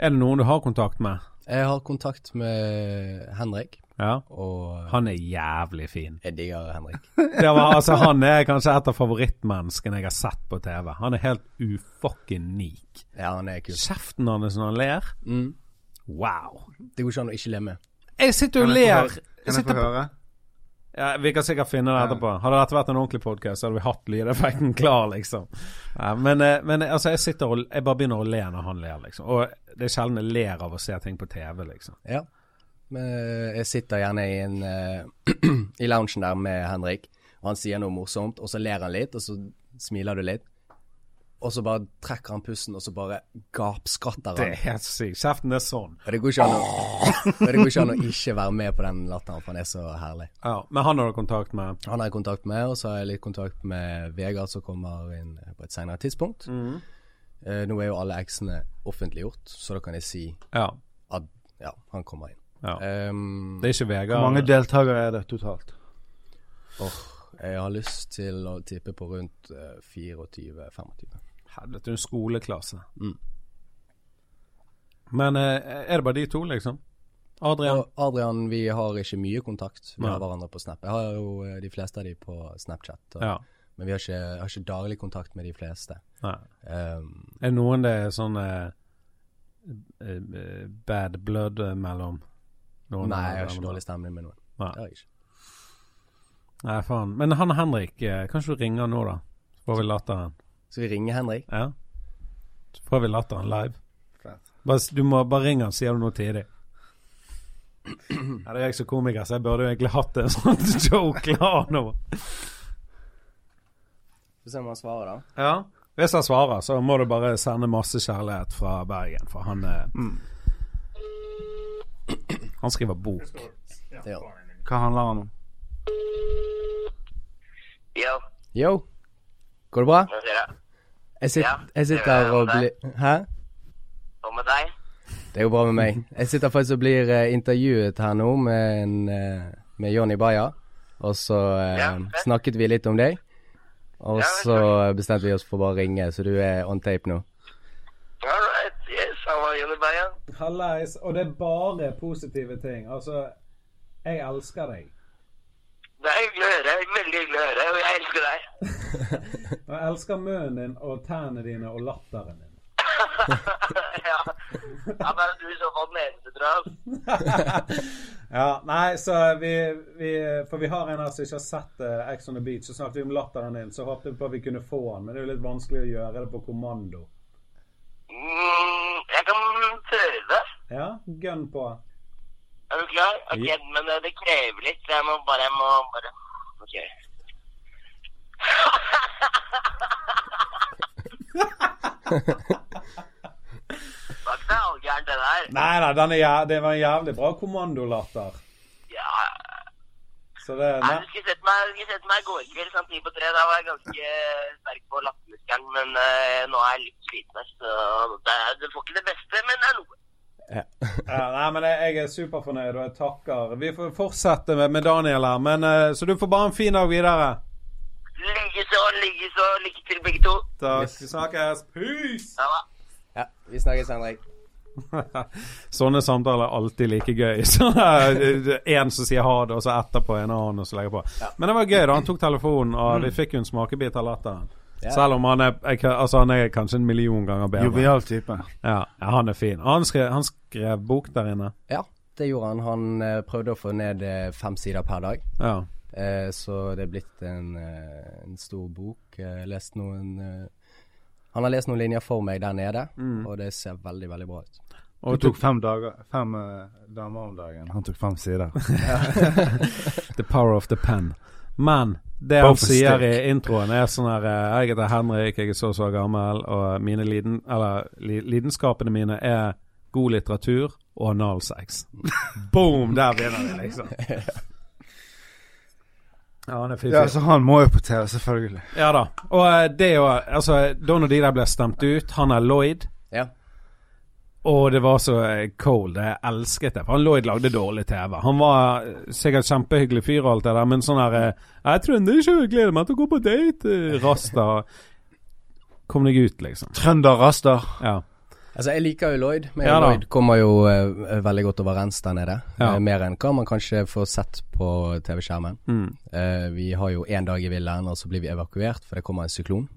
Speaker 1: Er det noen du har kontakt med?
Speaker 4: Jeg har kontakt med Henrik,
Speaker 1: Ja.
Speaker 4: og
Speaker 1: Han er jævlig fin.
Speaker 4: jeg digger Henrik.
Speaker 1: Det var, altså, han er kanskje et av favorittmenneskene jeg har sett på TV. Han er helt ufucking nik.
Speaker 4: Ja, han er kul.
Speaker 1: Kjeften hans når han ler,
Speaker 4: Mm.
Speaker 1: wow.
Speaker 4: Det går ikke an å ikke le med.
Speaker 1: Jeg sitter og
Speaker 3: Kan jeg få
Speaker 1: ler.
Speaker 3: høre-
Speaker 1: Jeg
Speaker 3: Kan jeg
Speaker 1: sitter
Speaker 3: få høre?
Speaker 1: Ja, Vi kan sikkert finne det etterpå. Hadde dette vært en ordentlig podkast, hadde vi hatt lydeffekten klar, liksom. Ja, men eh, men altså, jeg sitter og Jeg bare begynner å le når han ler, liksom. Og det er sjelden jeg ler av å se ting på TV, liksom.
Speaker 4: Ja. Men eh, jeg sitter gjerne i, en, eh, i loungen der med Henrik, og han sier noe morsomt, og så ler han litt, og så smiler du litt. Og så bare trekker han pusten, og så bare gapskratter
Speaker 1: Det er
Speaker 4: han.
Speaker 1: helt sykt. Kjeften er sånn.
Speaker 4: Og det går ikke an å, og det går ikke an å ikke være med på den latteren, for han er så herlig.
Speaker 1: Ja, Men han har du kontakt med?
Speaker 4: Han har jeg kontakt med, og så har jeg litt kontakt med Vegard, som kommer inn på et senere tidspunkt. Eh, nå er jo alle eksene offentliggjort, så da kan jeg si
Speaker 1: Ja. Eh,
Speaker 4: at ja, han kommer inn.
Speaker 1: Ja.
Speaker 4: Ehm,
Speaker 1: Det er ikke
Speaker 3: Hvor mange
Speaker 1: Vegard.
Speaker 3: deltakere er det totalt?
Speaker 4: Åh, jeg har lyst til å tippe på rundt eh, 24-25.
Speaker 1: Helvete, hun er skoleklasse.
Speaker 4: Mm.
Speaker 1: Men eh, er det bare de to, liksom? Adrian?
Speaker 4: Og Adrian, vi har ikke mye kontakt med
Speaker 1: Nei.
Speaker 4: hverandre på Snap. Jeg har jo eh, de fleste av de på Snapchat, og,
Speaker 1: Ja.
Speaker 4: men vi har ikke, jeg har ikke daglig kontakt med de fleste.
Speaker 1: Nei.
Speaker 4: Ehm,
Speaker 1: Er det noen det er sånn eh, eh, bad blood eh, mellom? Noen
Speaker 4: nei, jeg har
Speaker 1: mellom-
Speaker 4: ikke dårlig stemning med noen.
Speaker 1: Nei.
Speaker 4: Det har jeg ikke.
Speaker 1: Nei, faen. Men han Henrik, eh, kanskje du ringer han nå, da? Så får vi latteren.
Speaker 4: Skal vi ringe Henrik?
Speaker 1: Ja? Så får vi latteren live.
Speaker 3: Fett.
Speaker 1: Bare, s- du må bare ringe han, sier du noe tidlig. Ja, det er jeg som komiker, så jeg burde jo egentlig hatt en sånn joke klar nå.
Speaker 4: Få se om han svarer, da.
Speaker 1: Ja. Hvis han svarer, så må du bare sende masse kjærlighet fra Bergen, for han eh,
Speaker 4: Mm.
Speaker 1: Han skriver bok.
Speaker 2: Ja,
Speaker 4: Ja.
Speaker 2: faen, jeg-
Speaker 3: Hva handler han om?
Speaker 5: Yo,
Speaker 4: Yo, går det bra?
Speaker 5: hva skjer da?
Speaker 4: Jeg, sit,
Speaker 5: Ja,
Speaker 4: jeg
Speaker 5: det er
Speaker 4: sitter
Speaker 5: bra
Speaker 4: og
Speaker 5: med deg.
Speaker 4: blir Hæ?
Speaker 5: Hva med deg?
Speaker 4: Det er jo bra med meg. Jeg sitter faktisk og blir eh, intervjuet her nå med, en, eh, med Jonny Bayer. Og så eh,
Speaker 5: Ja, fett.
Speaker 4: snakket vi litt om deg. Og
Speaker 5: Ja,
Speaker 4: så bestemte vi oss for bare å ringe, så du er on tape nå.
Speaker 5: All right, yes, how are you, Libaya?
Speaker 1: Hallais. Og det er bare positive ting. Altså, jeg elsker deg.
Speaker 5: Det er hyggelig å høre, veldig hyggelig å høre, og jeg elsker deg.
Speaker 1: Og jeg elsker munnen din og tærne dine og latteren din.
Speaker 5: ja. ja, men du er i så fall den eneste, tror jeg.
Speaker 1: Ja, nei, så vi, vi For vi har en her som ikke har sett eh, Ex on the Beach, så snakket vi om latteren din. Så håpet vi på at vi kunne få han, men det er jo litt vanskelig å gjøre det på kommando.
Speaker 5: Mm, jeg kan prøve.
Speaker 1: Ja, gønn på.
Speaker 5: Er du klar? Ok, men eh, det krever litt, så jeg må bare, jeg må bare, ok. Det var ikke så halvgærent, det der.
Speaker 1: Nei da, den er jæv- det var en jævlig bra kommandolatter.
Speaker 5: Ja,
Speaker 1: Så det
Speaker 5: Nei,
Speaker 1: nei.
Speaker 5: du skulle sett meg, du skulle sett meg i går kveld sånn ti på tre. Da var jeg ganske sterk på lattermuskelen, men eh, nå er jeg litt sliten. her, Så det, er- du får ikke det beste, men det er noe.
Speaker 1: Ja, nei, men jeg, jeg er superfornøyd, og jeg takker. Vi får fortsette med, med Daniel her. Men, eh, så du får bare en fin dag videre.
Speaker 5: Likeså, likeså. Lykke til, begge to.
Speaker 1: Takk. Vi snakkes. Peace!
Speaker 5: Ha det.
Speaker 4: Ja, vi snakkes, Henrik.
Speaker 1: Sånne samtaler er alltid like gøy. Så eh, det er en som sier ha det, og så etterpå en annen og så legger på. Men det var gøy, da. Han tok telefonen, og vi fikk jo en smakebit av latteren.
Speaker 4: Ja.
Speaker 1: Selv om han er, jeg, altså han er kanskje en million ganger bedre.
Speaker 3: Jovial type.
Speaker 1: Ja, ja, han er fin. Og Han skrev, han skrev bok der inne.
Speaker 4: Ja, det gjorde han. Han eh, prøvde å få ned eh, fem sider per dag.
Speaker 1: Ja.
Speaker 4: Eh, så det er blitt en, eh, en stor bok. Eh, Jeg har lest noen eh, Han har lest noen linjer for meg der nede, og det ser veldig, veldig bra ut.
Speaker 1: Og
Speaker 3: Du tok fem dager Fem eh, damer om dagen. Han tok fem sider.
Speaker 1: The power of the pen. Men det han
Speaker 3: Power of the
Speaker 1: sier
Speaker 3: stick.
Speaker 1: i introen, er sånn her eh, Jeg heter Henrik, jeg er så og så gammel, og mine liden, eller, li, lidenskapene mine er god litteratur og analsex. Boom! Der begynner vi, liksom. Ja, han er fin.
Speaker 3: Ja,
Speaker 1: fyr.
Speaker 3: så han må jo på TV, selvfølgelig.
Speaker 1: Ja da. Og eh, det er jo Altså, da når de der ble stemt ut, han er Lloyd.
Speaker 4: Ja.
Speaker 1: Og det var så eh, cold. Jeg elsket det. For han Lloyd lagde dårlig TV. Han var eh, sikkert kjempehyggelig fyr og alt det der, men sånn her eh, Jeg trønder ikke, jeg gleder meg til å gå på date. eh, Rasta. Kom deg ut, liksom.
Speaker 3: Trønder raster.
Speaker 1: Ja.
Speaker 4: Altså, jeg liker jo Lloyd. Men
Speaker 1: Ja da.
Speaker 4: Lloyd kommer jo eh, veldig godt overens der nede.
Speaker 1: Ja.
Speaker 4: Eh, mer enn hva man kanskje får sett på TV-skjermen.
Speaker 1: Mm.
Speaker 4: Eh, vi har jo én dag i villaen, og så blir vi evakuert, for det kommer en syklon.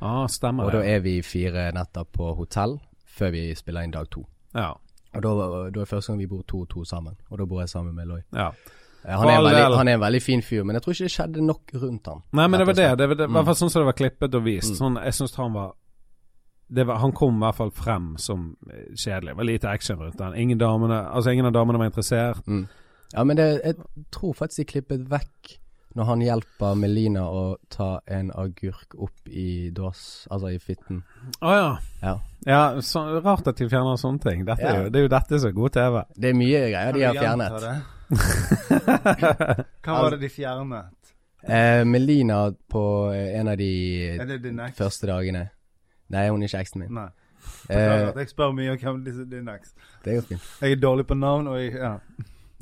Speaker 1: Ah,
Speaker 4: Og
Speaker 1: stemmer
Speaker 4: da
Speaker 1: det.
Speaker 4: er vi fire netter på hotell før vi spiller inn dag to.
Speaker 1: Ja.
Speaker 4: Og da, da er første gang vi bor to og to sammen, og da bor jeg sammen med Lloyd.
Speaker 1: ja.
Speaker 4: Eh, Han er, en
Speaker 1: Alle-
Speaker 4: veldig, han er en veldig fin fyr, men jeg tror ikke det skjedde nok rundt han.
Speaker 1: Nei, men det var
Speaker 4: Rett og Mm.
Speaker 1: det. det, var det I hvert fall sånn som det var klippet og vist. Sånn, jeg syns han var det var, Han kom i hvert fall frem som eh, kjedelig. Det var lite action rundt han. Ingen, damene, altså, ingen av damene var interessert.
Speaker 4: slett. Ja, men det, jeg tror faktisk de klippet vekk når han hjelper Melina å ta en agurk opp i dass, altså i fitten.
Speaker 1: Å ja.
Speaker 4: Ja.
Speaker 1: Ja, så, Rart at de fjerner sånne ting. Dette
Speaker 4: Ja.
Speaker 1: er, jo, det er jo dette som er god TV.
Speaker 4: Det er mye greier de har fjernet.
Speaker 3: Hva var det de fjernet?
Speaker 4: Eh, Melina på eh, en av de
Speaker 3: Er det din next?
Speaker 4: første dagene Nei, hun er ikke eksen min.
Speaker 3: Nei.
Speaker 4: Eh,
Speaker 3: Jeg spør mye om hvem disse din next.
Speaker 4: det går fint.
Speaker 3: Jeg er dårlig på navn, og jeg ja.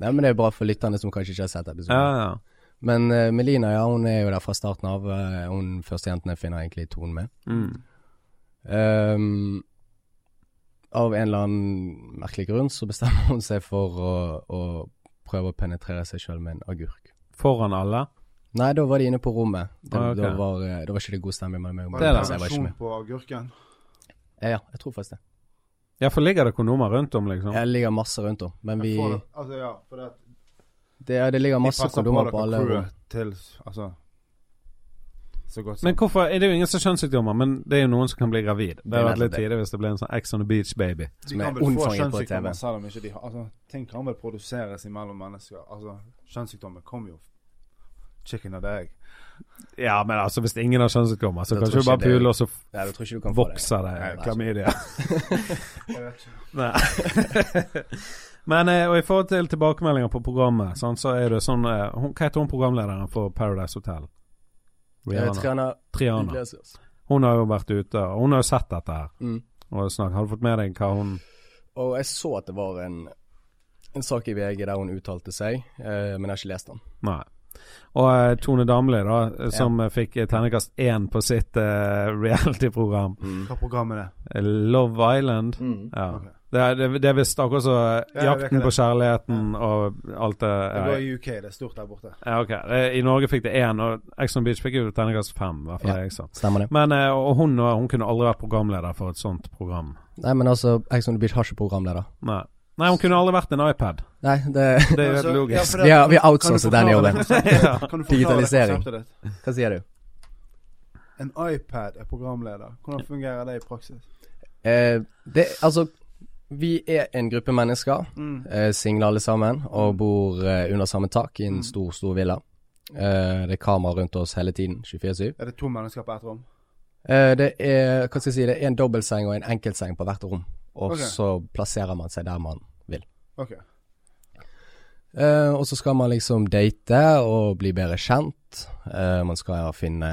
Speaker 4: Nei, men det er bra for lytterne som kanskje ikke har sett episoden.
Speaker 1: Ja, ja.
Speaker 4: Men eh, Melina, ja, hun er jo der fra starten av. eh, hun første jentene finner egentlig tonen med.
Speaker 1: Mm.
Speaker 4: Ehm, av en eller annen merkelig grunn så bestemmer hun seg for å, å prøve å penetrere seg sjøl med en agurk.
Speaker 1: Foran alle.
Speaker 4: Nei, da var de inne på rommet. Da,
Speaker 1: Ah, ok.
Speaker 4: da, var, eh, da var ikke det god stemning mellom meg og
Speaker 3: Var
Speaker 1: Det er
Speaker 4: Magnus,
Speaker 1: da.
Speaker 4: så jeg var ikke
Speaker 3: pensjon
Speaker 4: med.
Speaker 3: på agurken?
Speaker 4: Eh, Ja, jeg tror faktisk det.
Speaker 1: Ja, for ligger det kondomer rundt om, liksom?
Speaker 4: Jeg ligger masse rundt om, men vi
Speaker 3: Jeg får det- Altså, ja, for det, at
Speaker 4: Det, ja, det ligger
Speaker 3: de
Speaker 4: masse
Speaker 3: passer
Speaker 4: kondomer
Speaker 3: dere
Speaker 4: på alle
Speaker 3: crew
Speaker 4: rom.
Speaker 3: til Altså Så godt som
Speaker 1: Men hvorfor, er Det er jo ingen som har kjønnssykdommer, men det er jo noen som kan bli gravid. Det
Speaker 4: er
Speaker 1: hadde vært litt
Speaker 4: nettopp det.
Speaker 1: tidlig hvis det ble en sånn Ex on the Beach-baby.
Speaker 3: De
Speaker 4: som er
Speaker 3: kan vel få
Speaker 4: unnfanget på
Speaker 3: kjønnssykdommer
Speaker 4: TV.
Speaker 3: selv om ikke de har- Altså, ting kan vel produseres imellom mennesker. Altså, kjønnssykdommer kommer jo Chicken og egg.
Speaker 1: Ja, men altså, hvis ingen har kjønnssykdommer, så
Speaker 4: Jeg
Speaker 1: kanskje
Speaker 4: tror
Speaker 1: du bare
Speaker 4: ikke det-
Speaker 1: puler, og så
Speaker 4: Ja, jeg tror ikke du kan få det.
Speaker 1: vokser det
Speaker 4: Nei, nei.
Speaker 1: klamydia.
Speaker 3: Jeg vet ikke.
Speaker 1: Nei. Men eh, og i forhold til tilbakemeldinger på programmet, sånn, så er det sånn eh, hun, Hva heter hun programlederen for Paradise Hotel?
Speaker 4: Jeg
Speaker 1: Rihanna.
Speaker 4: trener
Speaker 1: Triana. Hun har jo vært ute, og hun har jo sett dette her.
Speaker 4: Mm.
Speaker 1: Og snakket. Har du fått med deg hva hun
Speaker 4: Og jeg så at det var en, en sak i VG der hun uttalte seg, eh, men jeg har ikke lest den.
Speaker 1: Nei. Og eh, Tone Damli, da, eh, som eh, fikk eh, terningkast én på sitt eh, reality-program,
Speaker 3: Hva program er det?
Speaker 1: eh, Love Island. Ja. Det, er, det, det er visst akkurat så eh,
Speaker 3: Mm. Ja, jeg vet
Speaker 1: Jakten
Speaker 3: ikke
Speaker 1: på
Speaker 3: det.
Speaker 1: kjærligheten og alt det
Speaker 3: Det var
Speaker 1: ja.
Speaker 3: i UK, det er stort der borte.
Speaker 1: Ja, ok. Eh, I Norge fikk det én, og Exxon Beach fikk jo terningkast fem. i hvert fall
Speaker 4: Ja.
Speaker 1: jeg så.
Speaker 4: Stemmer det?
Speaker 1: Men eh, og hun, og hun kunne aldri vært programleder for et sånt program.
Speaker 4: Nei, men altså, Ex on the Beach har ikke programleder.
Speaker 1: Nei, Nei hun kunne aldri vært en iPad.
Speaker 4: Nei, det
Speaker 1: Det er jo
Speaker 3: Altså,
Speaker 1: helt
Speaker 3: ja,
Speaker 1: logisk.
Speaker 3: for det-
Speaker 4: Vi har- vi har
Speaker 3: kan du
Speaker 4: outsourcet den
Speaker 3: forklare
Speaker 4: jobben.
Speaker 3: det konseptet?
Speaker 1: Ja.
Speaker 3: Kan du forklare det
Speaker 4: Digitalisering.
Speaker 3: konseptet ditt?
Speaker 4: Hva sier du?
Speaker 3: En iPad er programleder. Hvordan fungerer det i praksis?
Speaker 4: Eh, det Altså, vi er en gruppe mennesker,
Speaker 3: Mm.
Speaker 4: eh, single alle sammen, og bor eh, under samme tak i
Speaker 3: Mm.
Speaker 4: en stor, stor villa. Eh, det er kamera rundt oss hele tiden, 24-7.
Speaker 3: Er det to mennesker på ett rom?
Speaker 4: Eh, det er hva skal jeg si, det er en dobbeltseng og en enkeltseng på hvert rom, og
Speaker 3: Ok.
Speaker 4: så plasserer man seg der man vil.
Speaker 3: Ok.
Speaker 4: Eh, og så skal man liksom date og bli bedre kjent. Eh, man skal ja, finne,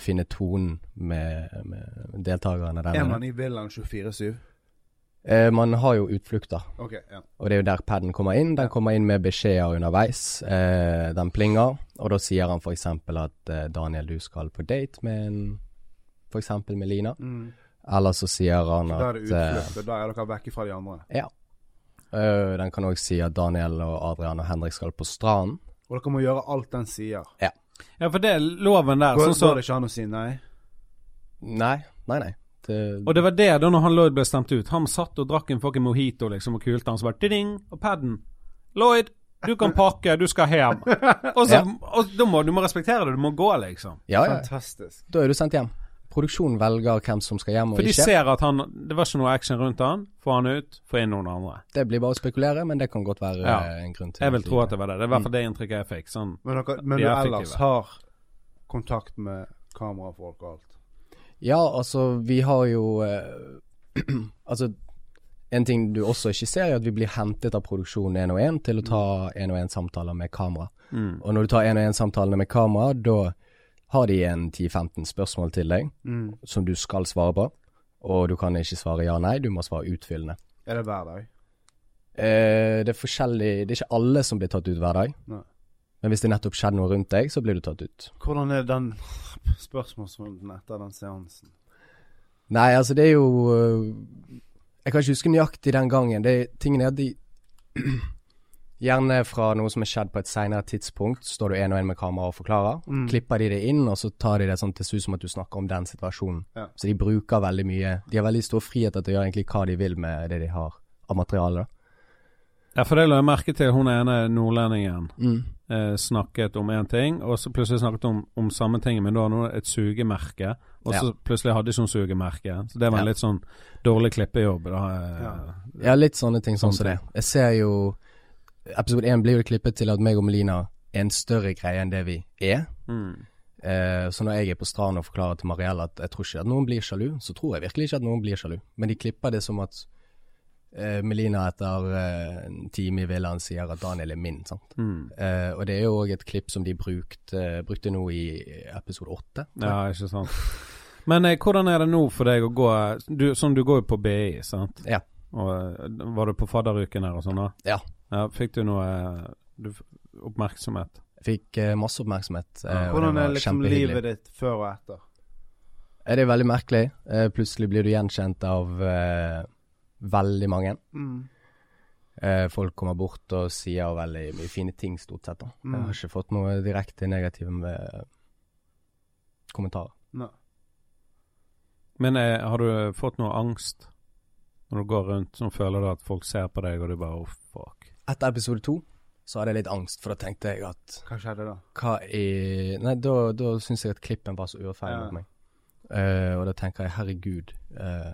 Speaker 4: finne tonen med, med deltakerne der.
Speaker 3: Er
Speaker 4: nede.
Speaker 3: man i villaen 24-7?
Speaker 4: Eh, man har jo utflukter.
Speaker 3: Ok, ja.
Speaker 4: Og det er jo der paden kommer inn. Den kommer inn med beskjeder underveis. Eh, den plinger, og da sier han f.eks. at eh, Daniel, du skal på date med en F.eks. med Lina. Eller så sier han
Speaker 3: Mm. Da er
Speaker 4: at
Speaker 3: det
Speaker 4: eh,
Speaker 3: utflukt, og da er dere vekk fra de andre.
Speaker 4: Ja. Eh, den kan òg si at Daniel og Adrian og Henrik skal på stranden.
Speaker 3: Og dere må gjøre alt den sier.
Speaker 1: Ja, for det er loven der.
Speaker 3: Går,
Speaker 1: Sånn så,
Speaker 3: går det ikke an å si nei?
Speaker 4: Nei, nei, nei. Det,
Speaker 1: og det var det da når han Lloyd ble stemt ut. Han satt og drakk en fucking mojito liksom og kulte, han så bare ding, og paden. Lloyd, du kan pakke, du skal hjem. Og, så,
Speaker 4: Ja.
Speaker 1: og da må, du må respektere det, du må gå, liksom.
Speaker 4: ja, ja.
Speaker 3: Fantastisk.
Speaker 4: Da er du sendt hjem. Produksjonen velger hvem som skal hjem og
Speaker 1: For de
Speaker 4: ikke.
Speaker 1: ser at han Det var ikke noe action rundt han. Få han ut, få inn noen andre.
Speaker 4: Det blir bare å spekulere, men det kan godt være
Speaker 1: Ja.
Speaker 4: eh, en grunn til
Speaker 1: Jeg vil tro at det var det. Det er i hvert fall det inntrykket jeg fikk. Sånn
Speaker 3: Men, dere, men
Speaker 1: De
Speaker 3: du
Speaker 1: er
Speaker 3: ellers
Speaker 1: effektive.
Speaker 3: har kontakt med kamerafolk og alt.
Speaker 4: Ja, altså, vi har jo eh, Altså, en ting du også ikke ser, er at vi blir hentet av produksjonen én og én til å ta én og én-samtaler med kamera. Og når du tar én og én-samtalene med kamera, da har de en 10-15 spørsmål til deg som du skal svare på. Og du kan ikke svare ja-nei, du må svare utfyllende.
Speaker 3: Er det hver dag?
Speaker 4: Eh, det er forskjellig Det er ikke alle som blir tatt ut hver dag.
Speaker 3: Nei.
Speaker 4: Men hvis det nettopp skjedde noe rundt deg, så blir du tatt ut.
Speaker 3: Hvordan er den spørsmålsrunden etter den seansen?
Speaker 4: Nei, altså det er jo øh, Jeg kan ikke huske nøyaktig den gangen. Det, tingen er at de Gjerne fra noe som er skjedd på et seinere tidspunkt, står du én og én med kamera og forklarer. Klipper de det inn, og så tar de det sånn til det ser ut som at du snakker om den situasjonen.
Speaker 3: Ja.
Speaker 4: Så de bruker veldig mye De har veldig stor frihet til å gjøre egentlig hva de vil med det de har av materiale. da.
Speaker 1: Ja, for det la jeg merke til. Hun ene nordlendingen
Speaker 4: Mm.
Speaker 1: eh, snakket om én ting, og så plutselig snakket hun om, om samme ting, men da hadde hun et sugemerke, og så
Speaker 4: Ja.
Speaker 1: plutselig hadde ikke hun sugemerke. Så det var en
Speaker 4: Ja.
Speaker 1: litt sånn dårlig klippejobb. Da. eh,
Speaker 4: Ja, litt sånne ting sånn som det. Jeg ser jo Episode én blir jo klippet til at meg og Melina er en større greie enn det vi er.
Speaker 1: mm,
Speaker 4: Eh, så når jeg er på stranden og forklarer til Mariell at jeg tror ikke at noen blir sjalu, så tror jeg virkelig ikke at noen blir sjalu. Men de klipper det som at eh, Melina etter eh, en time i villaen sier at Daniel er min, sant.
Speaker 1: mm.
Speaker 4: Eh, og det er jo òg et klipp som de brukte, brukte nå i episode åtte.
Speaker 1: Ja, ikke sant. Men eh, hvordan er det nå for deg å gå du, Sånn, du går jo på BI, sant?
Speaker 4: Ja.
Speaker 1: Og eh, Var du på fadderuken her og sånn da?
Speaker 4: Ja.
Speaker 1: Ja, fikk du noe eh, du, f- oppmerksomhet?
Speaker 4: Fikk eh, masse oppmerksomhet. eh, og
Speaker 3: Hvordan
Speaker 4: det var
Speaker 3: er liksom
Speaker 4: kjempehyggelig.
Speaker 3: livet ditt før og etter?
Speaker 4: Eh, Det er veldig merkelig. Eh, Plutselig blir du gjenkjent av eh, veldig mange. Eh, folk kommer bort og sier veldig mye fine ting, stort sett. da. Jeg har ikke fått noe direkte negative eh, kommentarer.
Speaker 3: Nei.
Speaker 1: Men eh, har du fått noe angst når du går rundt sånn føler du at folk ser på deg, og du bare oh, fuck.
Speaker 4: Etter episode to så hadde jeg litt angst, for da tenkte jeg at
Speaker 3: Hva skjedde da?
Speaker 4: hva i Nei, da, da syns jeg at klippen var så urettferdig
Speaker 3: Ja.
Speaker 4: mot meg. Eh, og da tenker jeg herregud, eh,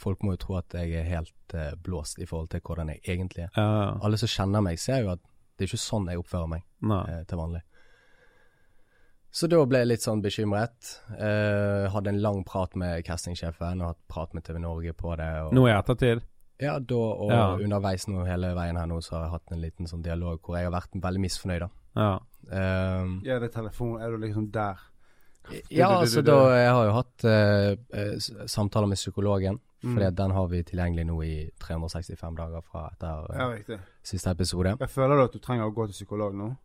Speaker 4: folk må jo tro at jeg er helt eh, blåst i forhold til hvordan jeg egentlig er.
Speaker 1: Ja,
Speaker 4: Alle som kjenner meg, ser jo at det er ikke sånn jeg oppfører meg
Speaker 1: nei.
Speaker 4: eh, til vanlig. Så da ble jeg litt sånn bekymret. Eh, hadde en lang prat med castingsjefen og hatt prat med TV Norge på det. Og,
Speaker 1: Nå i ettertid?
Speaker 4: Ja, da og
Speaker 1: Ja.
Speaker 4: underveis nå hele veien her nå så har jeg hatt en liten sånn dialog hvor jeg har vært veldig misfornøyd, da.
Speaker 1: Ja.
Speaker 4: Eh,
Speaker 3: Ja, det er telefon. Er du liksom der?
Speaker 4: Ja,
Speaker 3: du- du-
Speaker 4: altså
Speaker 3: du-
Speaker 4: da Jeg har jo hatt eh, eh, s- samtaler med psykologen,
Speaker 3: Mm.
Speaker 4: for den har vi tilgjengelig nå i 365 dager fra etter eh,
Speaker 3: Ja, riktig.
Speaker 4: siste episode.
Speaker 3: Jeg føler du at du trenger å gå til psykolog nå?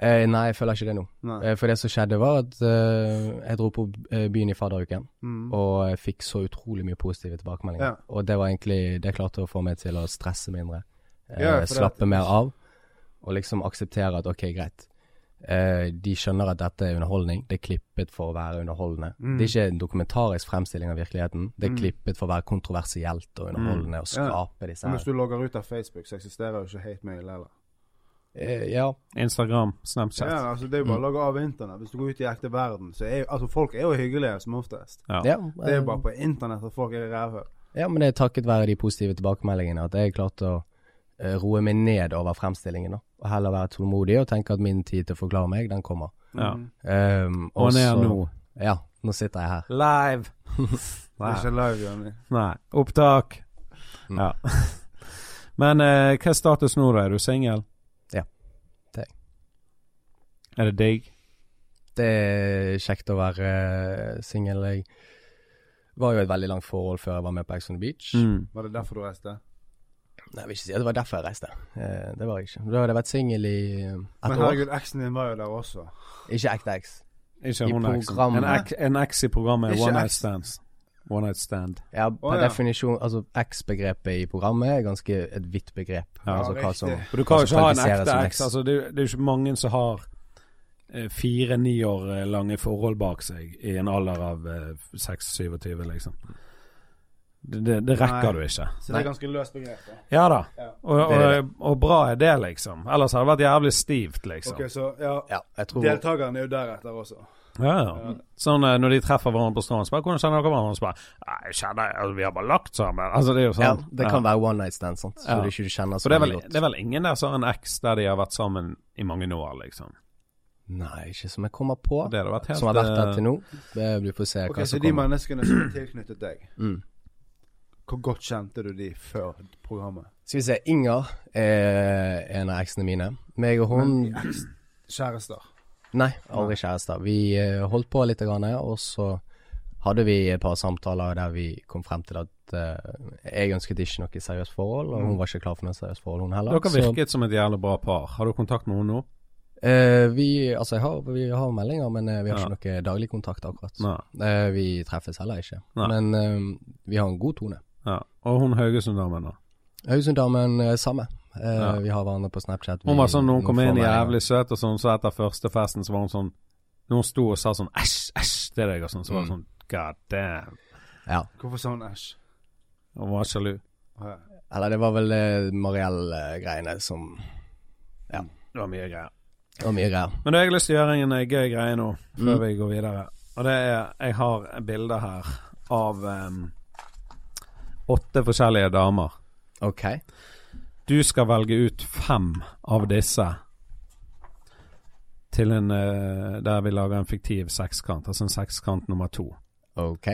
Speaker 4: Eh, nei, jeg føler ikke det nå.
Speaker 3: Nei.
Speaker 4: Eh, for det som skjedde, var at eh, jeg dro på eh, byen i fadderuken,
Speaker 3: Mm.
Speaker 4: og jeg fikk så utrolig mye positive tilbakemeldinger.
Speaker 3: Ja.
Speaker 4: Og det var egentlig Det klarte å få meg til å stresse mindre. Eh,
Speaker 3: Ja, for det-
Speaker 4: slappe mer av, og liksom akseptere at ok, greit. Eh, de skjønner at dette er underholdning. Det er klippet for å være underholdende.
Speaker 3: Mm.
Speaker 4: Det er ikke en dokumentarisk fremstilling av virkeligheten. Det er klippet for å være kontroversielt og underholdende og
Speaker 3: Mm. Ja.
Speaker 4: skape disse
Speaker 3: Men hvis
Speaker 4: her.
Speaker 3: du logger ut av Facebook, så eksisterer jo ikke hate mail heller.
Speaker 4: Eh, ja.
Speaker 1: Instagram, Snapchat.
Speaker 3: Ja, altså Det er jo
Speaker 4: Mm.
Speaker 3: bare å logge av internett. Hvis du går ut i ekte verden, så er jo altså folk er jo hyggelige som oftest.
Speaker 1: Ja.
Speaker 4: ja.
Speaker 3: Det er
Speaker 4: eh,
Speaker 3: jo bare på internett at folk er rævhøl.
Speaker 4: Ja, men det er takket være de positive tilbakemeldingene at jeg klarte å eh, roe meg ned over fremstillingen. da. Og heller være tålmodig og tenke at min tid til å forklare meg, den kommer.
Speaker 1: Ja.
Speaker 3: Mm.
Speaker 4: Um,
Speaker 1: Og han er
Speaker 4: så-
Speaker 1: nå.
Speaker 4: Ja, nå sitter jeg her.
Speaker 1: Live!
Speaker 3: Det er
Speaker 1: Nei.
Speaker 3: ikke live, Jonny.
Speaker 1: Nei. Opptak. Ja. Men eh, hva er status nå, da? Er du singel?
Speaker 4: Ja. Det er jeg.
Speaker 1: Er det digg?
Speaker 4: Det er kjekt å være eh, singel. Jeg Var jo et veldig langt forhold før jeg var med på Ex on the Beach.
Speaker 1: Mm.
Speaker 3: Var det derfor du reiste?
Speaker 4: Nei, jeg vil ikke si at det var derfor jeg reiste. Eh, det var jeg ikke. Da hadde jeg vært singel i eh,
Speaker 3: Men
Speaker 4: et år.
Speaker 3: herregud, eksen din var jo der også.
Speaker 4: Ikke ekte eks.
Speaker 1: Ikke
Speaker 4: I
Speaker 1: hun eksen.
Speaker 4: programmet.
Speaker 1: En ek- En eks i programmet er
Speaker 3: Ikke
Speaker 1: One Night
Speaker 3: eks.
Speaker 1: Stands. One Night Stand.
Speaker 4: Ja, per
Speaker 3: ja.
Speaker 4: definisjon Altså, eks-begrepet i programmet er ganske et vidt begrep.
Speaker 1: Ja,
Speaker 4: altså hva som
Speaker 3: riktig.
Speaker 1: For du kan jo
Speaker 4: Altså,
Speaker 1: ikke ha en
Speaker 4: kvalifiserer
Speaker 1: ekte
Speaker 4: som
Speaker 1: eks.
Speaker 4: eks.
Speaker 1: Altså, det, det er jo ikke mange som har eh, fire-ni år eh, lange forhold bak seg i en alder av eh, 26-27, liksom. Det, det, det rekker
Speaker 3: Nei.
Speaker 1: du ikke.
Speaker 3: Så det er ganske løst begrep. da.
Speaker 1: Ja da.
Speaker 3: Ja.
Speaker 1: Og,
Speaker 4: Det er
Speaker 1: og, og bra er det, liksom. Ellers hadde det vært jævlig stivt, liksom.
Speaker 3: Ok, så ja,
Speaker 4: Ja, jeg tror
Speaker 3: deltakeren er jo deretter også.
Speaker 1: Ja, ja. Sånn eh, når de treffer hverandre på stranden, så bare 'Hvordan kjenner dere hverandre?' Og så bare 'Nei, kjenner altså, Vi har bare lagt sammen.' Altså, det er jo
Speaker 4: Ja,
Speaker 1: sånn.
Speaker 4: det kan være one night stand, sant. Så
Speaker 1: Ja.
Speaker 4: du ikke kjenner
Speaker 1: For
Speaker 4: så
Speaker 1: det er, vel,
Speaker 4: veldig godt.
Speaker 1: det er vel ingen der som har en eks der de har vært sammen i mange år, liksom.
Speaker 4: Nei, ikke som jeg kommer på.
Speaker 1: Det hadde vært helt
Speaker 4: som har vært
Speaker 1: eh,
Speaker 4: der til nå. Det blir får se
Speaker 3: Ok,
Speaker 4: hva
Speaker 3: Så
Speaker 4: som
Speaker 3: de
Speaker 4: kommer.
Speaker 3: menneskene som er tilknyttet deg,
Speaker 4: Mm.
Speaker 3: hvor godt kjente du de før programmet?
Speaker 4: Skal vi se, Inger er en av eksene mine. Meg og hun
Speaker 3: Men de eks- Kjærester.
Speaker 4: Nei, aldri kjærester. Vi eh, holdt på litt, grann, og så hadde vi et par samtaler der vi kom frem til at eh, jeg ønsket ikke noe seriøst forhold, og hun var ikke klar for noe seriøst forhold, hun heller.
Speaker 1: Dere virket som et jævlig bra par. Har du kontakt med henne nå?
Speaker 4: Så eh, vi, altså, jeg har, vi har meldinger, men eh, vi har
Speaker 1: Ja.
Speaker 4: ikke noe daglig kontakt akkurat.
Speaker 1: Nei.
Speaker 4: Eh, vi treffes heller ikke.
Speaker 1: Nei.
Speaker 4: Men eh, vi har en god tone.
Speaker 1: Ja. Og hun Haugesund-damen, da.
Speaker 4: Haugesund-damen eh, samme. Eh,
Speaker 1: Ja.
Speaker 4: Vi har hverandre på Snapchat. Vi-
Speaker 1: Hun var sånn, når hun kom inn
Speaker 4: får meldinger.
Speaker 1: jævlig søt, og sånn, så etter første festen så var hun sånn Når hun sto og sa sånn 'æsj, æsj' til deg, og sånn, så
Speaker 4: Mm.
Speaker 1: var det sånn God damn.
Speaker 4: Ja.
Speaker 3: Hvorfor sa hun æsj?
Speaker 1: Hun var sjalu.
Speaker 3: Å, ja.
Speaker 4: Eller det var vel eh, Mariell-greiene som
Speaker 1: Det var mye greier.
Speaker 4: Det var mye greier.
Speaker 1: Men du, jeg har lyst til å gjøre en eh, gøy greie nå, før
Speaker 4: Mm.
Speaker 1: vi går videre. Og det er Jeg har bilder her av em, åtte forskjellige damer.
Speaker 4: OK.
Speaker 1: Du skal velge ut fem av disse til en eh, der vi lager en fiktiv sekskant, altså en sekskant nummer to.
Speaker 4: OK.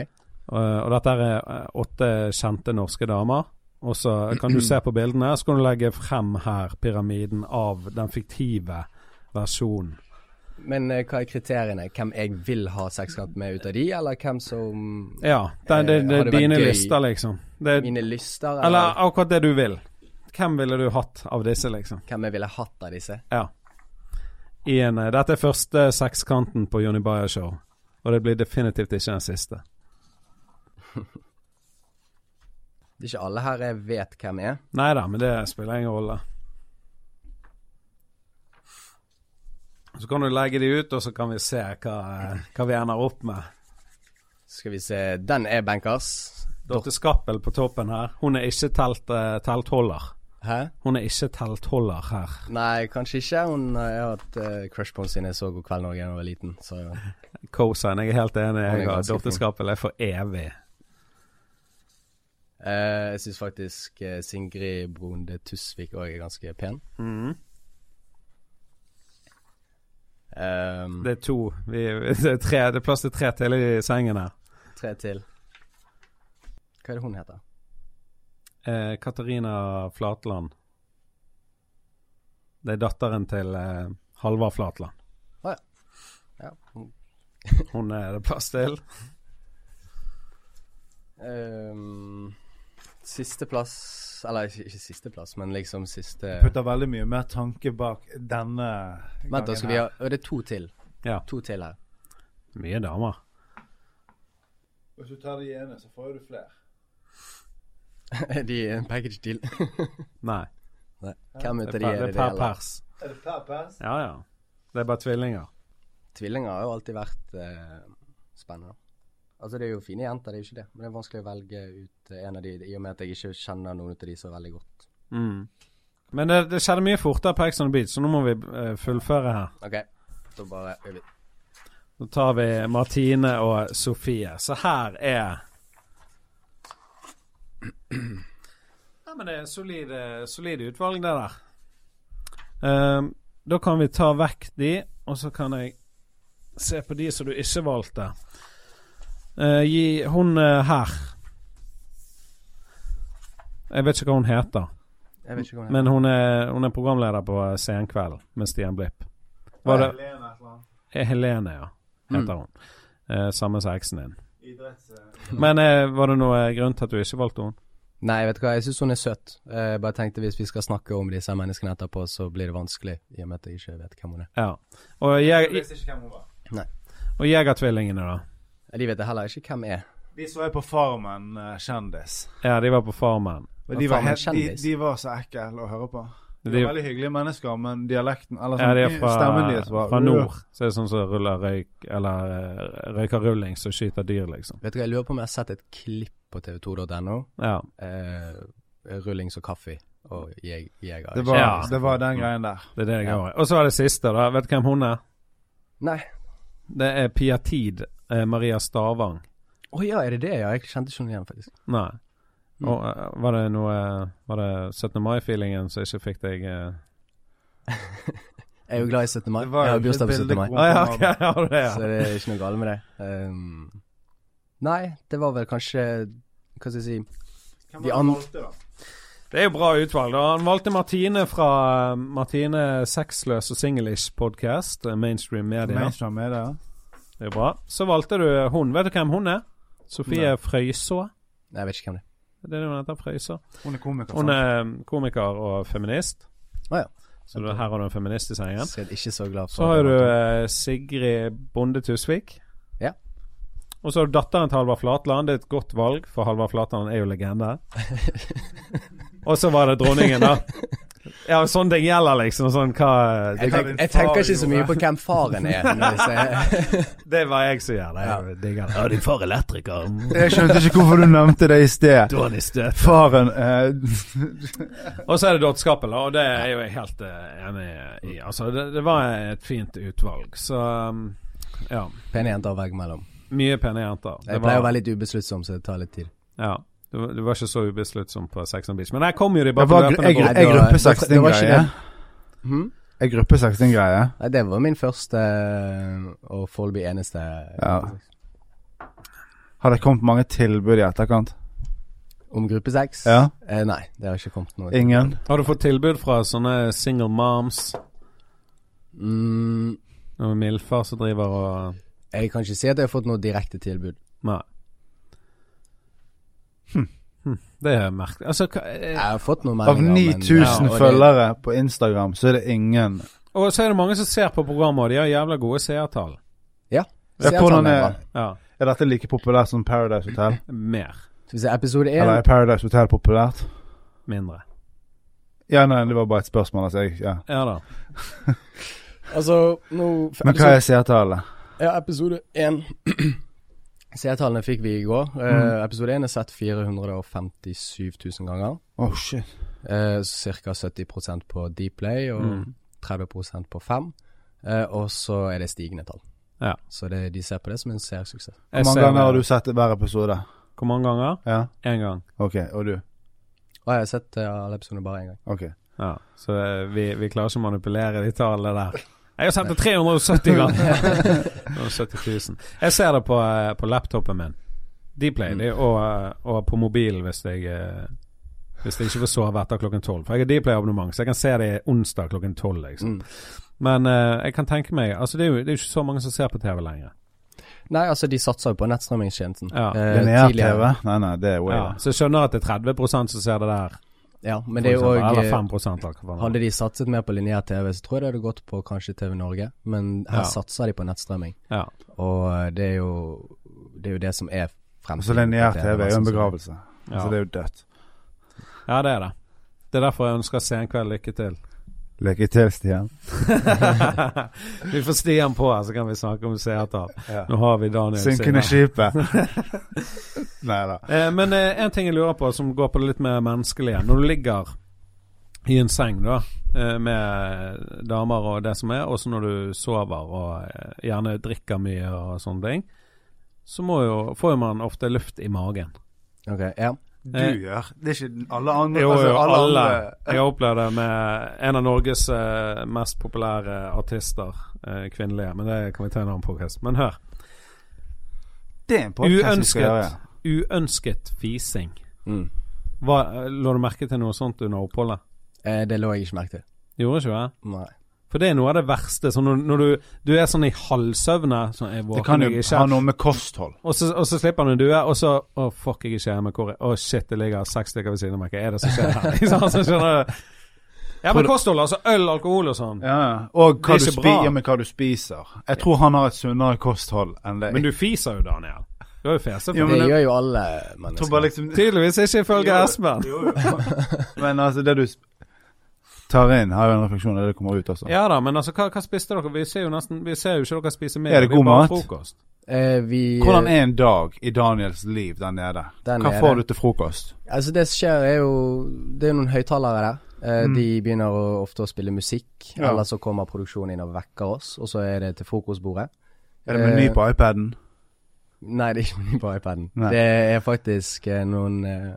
Speaker 1: Og, og dette er eh, åtte kjente norske damer. Og så kan du se på bildene, så kan du legge frem her pyramiden av den fiktive versjonen.
Speaker 4: Men eh, hva er kriteriene? Hvem jeg vil ha sexkamp med ut av de, eller hvem som
Speaker 1: Ja, det,
Speaker 4: Eh,
Speaker 1: det, det
Speaker 4: har
Speaker 1: er
Speaker 4: det vært
Speaker 1: dine
Speaker 4: gøy?
Speaker 1: lister, liksom. Det,
Speaker 4: Mine lyster, eller,
Speaker 1: eller akkurat det du vil. Hvem ville du hatt av disse, liksom?
Speaker 4: hvem jeg ville hatt av disse?
Speaker 1: Ja. I en, eh, dette er første sekskanten på Johnny Bayer Show, og det blir definitivt ikke den siste.
Speaker 4: Det er ikke alle her jeg vet hvem er.
Speaker 1: Nei da, men det spiller ingen rolle. Så kan du legge de ut, og så kan vi se hva, eh, hva vi ender opp med.
Speaker 4: Skal vi se Den er bankers.
Speaker 1: Dorte Skappel på toppen her. Hun er ikke telt, eh, teltholder.
Speaker 4: Hæ?
Speaker 1: Hun er ikke teltholder her.
Speaker 4: Nei, kanskje ikke. Hun har jeg har hatt eh, crush på henne siden jeg så God kveld Norge da jeg var liten. Så
Speaker 1: Cosign, jeg er helt enig.
Speaker 4: er
Speaker 1: Jeg har
Speaker 4: ganske
Speaker 1: Dorte
Speaker 4: fin.
Speaker 1: Skappel er for evig.
Speaker 4: eh, jeg syns faktisk eh, Singrid Brunde Tusvik òg er ganske pen. Mm. Um,
Speaker 1: Det er to vi, Det er, tre, det er plass til tre til i sengen her.
Speaker 4: Tre til. Hva er det hun heter?
Speaker 1: Eh, Katarina Flatland. Det er datteren til eh, Halvard Flatland.
Speaker 4: Ja. hun-
Speaker 1: Hun er det plass til.
Speaker 4: Ehm, siste plass Eller ikke, ikke siste plass, men liksom siste
Speaker 3: Putter veldig mye mer tanke bak denne gangen.
Speaker 4: Vent, da skal vi ha Å, Det er to til.
Speaker 1: Ja.
Speaker 4: To til her.
Speaker 1: Mye damer.
Speaker 3: her. Hvis du tar de ene, så får jo du flere.
Speaker 4: de er en package deal.
Speaker 1: Nei.
Speaker 4: Nei. Hvem
Speaker 1: Det
Speaker 4: ute
Speaker 1: er,
Speaker 4: de
Speaker 1: per,
Speaker 4: er
Speaker 1: det
Speaker 4: det?
Speaker 1: er per
Speaker 4: eller?
Speaker 1: pers.
Speaker 3: Er det per pers?
Speaker 1: Ja, ja. Det er bare tvillinger.
Speaker 4: Tvillinger har jo alltid vært eh, spennende. Altså, det er jo fine jenter, det er jo ikke det. Men det er vanskelig å velge ut eh, en av de, i og med at jeg ikke kjenner noen av de så veldig godt.
Speaker 1: Mm. Men det, det skjedde mye fortere på Ex on the Beach, så nå må vi eh, fullføre her.
Speaker 4: OK, da bare øver vi.
Speaker 1: Så tar vi Martine og Sofie. Så her er Ja, men det er solide, solide utvalg, det der. Ehm, da kan vi ta vekk de, og så kan jeg se på de som du ikke valgte. Eh, gi hun eh, her Jeg vet ikke hva hun heter,
Speaker 4: Jeg vet ikke hva hun heter.
Speaker 1: men hun er, hun er programleder på eh, Senkveld med Stian Blipp. Var det
Speaker 3: Helene et eller annet.
Speaker 1: Eh, Helene, ja, heter
Speaker 4: Mm.
Speaker 1: hun. Eh, samme som eksen din.
Speaker 3: Idretts...
Speaker 1: Men eh, var det noe grunn til at du ikke valgte henne?
Speaker 4: Nei, vet du hva, jeg syns hun er søt. Eh, Jeg bare tenkte hvis vi skal snakke om disse menneskene etterpå, så blir det vanskelig, i og med at jeg ikke vet hvem hun er.
Speaker 1: Ja. Og, jeg,
Speaker 3: visste ikke hvem hun var.
Speaker 1: og Jegertvillingene, da?
Speaker 4: Eh, De vet jeg heller ikke hvem er.
Speaker 3: De så jeg på Farmen eh, kjendis.
Speaker 1: Ja, de var på Farmen.
Speaker 3: Og de var,
Speaker 4: Farmen
Speaker 3: helt, de,
Speaker 4: kjendis?
Speaker 3: de var så ekle å høre på. De var
Speaker 1: De-
Speaker 3: veldig hyggelige mennesker, men dialekten eller
Speaker 1: Ja,
Speaker 3: sånn,
Speaker 1: de er
Speaker 3: stemmen
Speaker 1: fra,
Speaker 3: deres var
Speaker 1: fra nord. Så det er sånn som ruller røyk Eller eh, røyker rulling som skyter dyr, liksom.
Speaker 4: Vet du hva, jeg lurer på om jeg har sett et klipp på tv2.no.
Speaker 1: Ja.
Speaker 4: Eh, rullings og kaffe og jeg, jeger.
Speaker 3: Det var,
Speaker 1: Ja.
Speaker 3: det var den greien der.
Speaker 1: Det er det jeg
Speaker 4: Ja.
Speaker 1: har. Og så er det siste, da. Vet du hvem hun er?
Speaker 4: Nei.
Speaker 1: Det er Pia Tid. Eh, Maria Stavang.
Speaker 4: Å ja, er det det? Ja, jeg kjente ikke henne igjen, faktisk.
Speaker 1: Nei.
Speaker 4: Mm.
Speaker 1: Og, eh, var det noe Var det 17. mai-feelingen som ikke fikk deg eh?
Speaker 4: Jeg er jo glad i 17. mai.
Speaker 3: Det var
Speaker 4: Jeg har
Speaker 3: jo
Speaker 4: bursdag på
Speaker 3: et
Speaker 4: 17. mai,
Speaker 3: bilde-
Speaker 1: Å ja, ok, har du det,
Speaker 4: så
Speaker 1: ja.
Speaker 4: det er ikke noe galt med det. Ehm, nei, det var vel kanskje Hva skal jeg si De andre-
Speaker 1: Det er jo bra utvalg, da. Han valgte Martine fra eh, Martine Sexløs og Singlish Podcast, eh, Mainstream Media.
Speaker 3: Mainstream er det, ja.
Speaker 1: Det er bra. Så valgte du eh, hun. Vet du hvem hun er? Sofie Frøysaa.
Speaker 4: Nei, Jeg vet ikke hvem det er.
Speaker 1: Det er det hun heter, Frøysaa.
Speaker 3: Hun er komiker.
Speaker 1: Hun
Speaker 3: sant?
Speaker 1: er eh, komiker og feminist.
Speaker 4: Å ja.
Speaker 1: Så du, her har du en feminist i sengen.
Speaker 4: Så jeg er ikke så glad for
Speaker 1: Så har du eh, Sigrid Bonde Tusvik.
Speaker 4: Ja.
Speaker 1: Og så har du datteren til Halvard Flatland. Det er et godt valg, for Halvard Flatland er jo legende. og så var det dronningen, da. Ja, sånn ting gjelder, liksom. Sånn hva
Speaker 4: jeg, tenk, jeg tenker ikke så mye på hvem faren er. når jeg ser-
Speaker 1: Det var jeg som gjør det. Jeg digger det.
Speaker 6: din far er elektriker.
Speaker 3: Jeg skjønte ikke hvorfor mm. du nevnte det i sted.
Speaker 6: Dårlig støt.
Speaker 3: Faren eh,
Speaker 1: Og så er det Dorte Skappel, da, og det er jo jeg helt eh, enig i. Altså, det, det var et fint utvalg, så um, ja.
Speaker 4: Pene jenter og veggmellom.
Speaker 1: Mye pene jenter. Det
Speaker 4: Jeg
Speaker 1: var-
Speaker 4: pleier å være litt ubesluttsom, så det tar litt tid.
Speaker 1: Ja. Du, var- du var ikke så ubesluttsom på Sex on Beach. Men der kom jo de bare
Speaker 3: Jeg
Speaker 1: på
Speaker 3: var
Speaker 1: løpende
Speaker 3: jeg,
Speaker 1: bånd.
Speaker 4: det
Speaker 3: jeg
Speaker 4: var-
Speaker 3: gruppe
Speaker 4: det var ikke
Speaker 3: 16-greie.
Speaker 4: det. Hm?
Speaker 3: Jeg gruppe 16-greie.
Speaker 4: Nei, det var min første eh, og foreløpig eneste
Speaker 3: Ja. Har det kommet mange tilbud i etterkant?
Speaker 4: om gruppe seks.
Speaker 3: Ja.
Speaker 4: Eh, nei, det har ikke kommet noe.
Speaker 3: Ingen?
Speaker 1: Har du fått tilbud fra sånne single moms?
Speaker 4: Mm,
Speaker 1: Noen milfer som driver og
Speaker 4: jeg kan ikke si at jeg har fått noe direkte tilbud.
Speaker 1: Nei. Hm. Det er merkelig. Altså, hva eh,
Speaker 4: Jeg har fått noen
Speaker 3: Av
Speaker 4: meldinger, men-
Speaker 3: 9000
Speaker 4: Ja, og det-
Speaker 3: følgere på Instagram, så er det ingen
Speaker 1: Og så er det mange som ser på programmet, og de har jævla gode seertall.
Speaker 4: Ja.
Speaker 3: Ja,
Speaker 4: Se at
Speaker 3: hvordan
Speaker 4: han er
Speaker 3: er-
Speaker 4: bra.
Speaker 1: Ja.
Speaker 3: Er dette like populært som Paradise Hotel?
Speaker 1: Mer.
Speaker 4: Skal vi se, episode én
Speaker 3: Eller er Paradise Hotel populært?
Speaker 1: Mindre.
Speaker 3: Ja, nei, det var bare et spørsmål. Altså, jeg, ja.
Speaker 1: Ja da.
Speaker 4: Altså, nå
Speaker 3: Men hva er seertallet?
Speaker 4: Ja, episode én Seertallene fikk vi i går. Eh,
Speaker 1: Mm.
Speaker 4: Episode én er sett 457 000 ganger.
Speaker 3: Å, shit.
Speaker 4: Eh, Ca. 70 på Dplay og
Speaker 1: Mm.
Speaker 4: 30 på Fem. Eh, og så er det stigende tall.
Speaker 1: Ja.
Speaker 4: Så det, de ser på det som en seersuksess.
Speaker 1: Jeg
Speaker 3: Hvor mange
Speaker 1: ser
Speaker 3: ganger har
Speaker 1: det.
Speaker 3: du sett hver episode?
Speaker 1: Hvor mange ganger?
Speaker 3: Ja,
Speaker 1: Én gang.
Speaker 3: OK. Og du?
Speaker 4: Og jeg har sett eh, alle episodene bare én gang.
Speaker 3: OK.
Speaker 1: Ja. Så eh, vi, vi klarer ikke å manipulere de tallene der. Jeg har sett det 370 ganger! 70 000. Jeg ser det på, eh, på laptopen min. Dplay.
Speaker 4: Mm.
Speaker 1: det, Og, eh, og på mobilen hvis jeg eh, Hvis jeg ikke får sove etter klokken tolv. For jeg har Dplay-abonnement, så jeg kan se det onsdag klokken tolv.
Speaker 4: Mm.
Speaker 1: Liksom. Men eh, jeg kan tenke meg Altså det er jo det er jo ikke så mange som ser på TV lenger.
Speaker 4: Nei, altså, de satser jo på nettstrømmingstjenesten.
Speaker 1: Ja.
Speaker 4: Eh,
Speaker 3: Lineær-TV?
Speaker 4: tidligere.
Speaker 3: Nei, nei, det er altså. way
Speaker 1: Ja,
Speaker 3: ja.
Speaker 1: så jeg skjønner at det er 30 som ser det der.
Speaker 4: Ja, men
Speaker 1: for
Speaker 4: det er jo eh,
Speaker 1: eksempel, eller
Speaker 4: òg
Speaker 1: 5 eller hva faen.
Speaker 4: Hadde de satset mer på lineær-TV, så tror jeg det hadde gått på kanskje TV Norge, men her
Speaker 1: Ja.
Speaker 4: satser de på nettstrømming.
Speaker 1: ja.
Speaker 4: Og eh, det er jo det, er jo det som er fremtiden.
Speaker 3: Så
Speaker 4: Det er
Speaker 3: lineær-TV Altså, er jo en
Speaker 4: sånn som-
Speaker 3: begravelse.
Speaker 1: Ja.
Speaker 3: Så det er jo dødt.
Speaker 1: ja, det er det. Det er derfor jeg ønsker Senkveld lykke til.
Speaker 3: Lykke til, Stian.
Speaker 1: vi får Stian på her, så kan vi snakke om seertall.
Speaker 3: Ja.
Speaker 1: Nå har vi Daniel Sinner.
Speaker 3: Synkende skipet. nei da.
Speaker 1: Eh, men eh, en ting jeg lurer på, som går på det litt mer menneskelige. Når du ligger i en seng, da, eh, med damer og det som er, også når du sover og eh, gjerne drikker mye og sånne ting, så må jo, får jo man ofte luft i magen.
Speaker 4: Ok, ja.
Speaker 3: Du
Speaker 1: Eh.
Speaker 3: gjør. Det er ikke alle andre.
Speaker 1: Jo,
Speaker 3: altså,
Speaker 1: jo,
Speaker 3: alle
Speaker 1: alle.
Speaker 3: andre-
Speaker 1: Jeg har opplevd det med en av Norges eh, mest populære artister, eh, kvinnelige, men det kan vi ta en annen podcast. Men hør.
Speaker 3: Det er en podcast vi skal gjøre.
Speaker 1: Uønsket, uønsket fising.
Speaker 4: Mm.
Speaker 1: Hva, lå du merke til noe sånt under oppholdet?
Speaker 4: Eh, det lå jeg ikke merke til.
Speaker 1: Gjorde ikke det?
Speaker 4: Nei.
Speaker 1: For det er noe av det verste. Sånn når, når du, du er sånn i halvsøvne sånn, jeg
Speaker 3: Det kan
Speaker 1: våkner
Speaker 3: jo
Speaker 1: jeg
Speaker 3: ha
Speaker 1: ikke.
Speaker 3: noe med kosthold.
Speaker 1: Og så, og så slipper han en due, og så Å, fuck, jeg er ikke hjemme. Hvor er Å, shit, det ligger seks stykker ved siden av meg. Hva er det som skjer her? Ikke sant? så skjønner du. Ja, men kosthold, altså. Øl, alkohol og sånn.
Speaker 3: Ja, ja. Og hva
Speaker 1: Det
Speaker 3: du,
Speaker 1: er ikke
Speaker 3: spi
Speaker 1: bra.
Speaker 3: ja, men hva du spiser. Jeg tror han har et sunnere kosthold enn deg.
Speaker 1: Men du fiser jo, Daniel. Du har jo fese.
Speaker 3: Jo,
Speaker 1: Ja,
Speaker 3: men
Speaker 4: det
Speaker 3: det-
Speaker 4: gjør jo alle
Speaker 3: Jeg tror bare
Speaker 4: mennesker.
Speaker 3: liksom
Speaker 1: Tydeligvis ikke ifølge Espen.
Speaker 3: Jo, jo. Men altså, det du sp- tar inn, har jo en refleksjon av det kommer ut, altså.
Speaker 1: Ja da, men altså, hva, hva spiste dere? Vi ser jo nesten Vi ser jo ikke dere spise mer.
Speaker 3: Er det
Speaker 1: blir
Speaker 3: god
Speaker 1: bare
Speaker 3: mat?
Speaker 1: Frokost.
Speaker 4: Eh, vi,
Speaker 3: Hvordan er en dag i Daniels liv der nede?
Speaker 4: Der
Speaker 3: Hva
Speaker 4: nede.
Speaker 3: får du til frokost?
Speaker 4: Altså det som skjer er jo Det er noen høyttalere der. Eh, De begynner å, ofte å spille musikk,
Speaker 3: Mm. Ja.
Speaker 4: eller så kommer produksjonen inn og vekker oss, og så er det til frokostbordet.
Speaker 3: Er det meny
Speaker 4: Eh,
Speaker 3: på iPaden?
Speaker 4: Nei, det er ikke meny på iPaden.
Speaker 3: Nei.
Speaker 4: Det er faktisk eh, noen eh,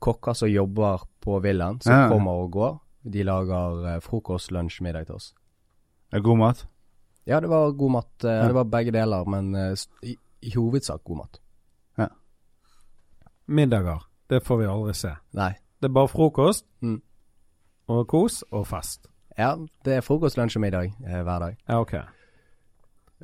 Speaker 4: kokker som jobber på villaen, som
Speaker 3: Ja.
Speaker 4: kommer og går. De lager eh, frokost, lunsj, middag til oss.
Speaker 3: Er det god mat?
Speaker 4: Ja, det var god mat. eh, Det var begge deler, men eh, s- i, i hovedsak god mat.
Speaker 1: Middager. Det får vi aldri se.
Speaker 4: Nei.
Speaker 1: Det er bare frokost
Speaker 4: Mm.
Speaker 1: og kos og fest.
Speaker 4: Ja, det er frokost, lunsj og middag eh, hver dag.
Speaker 1: Ja, ok.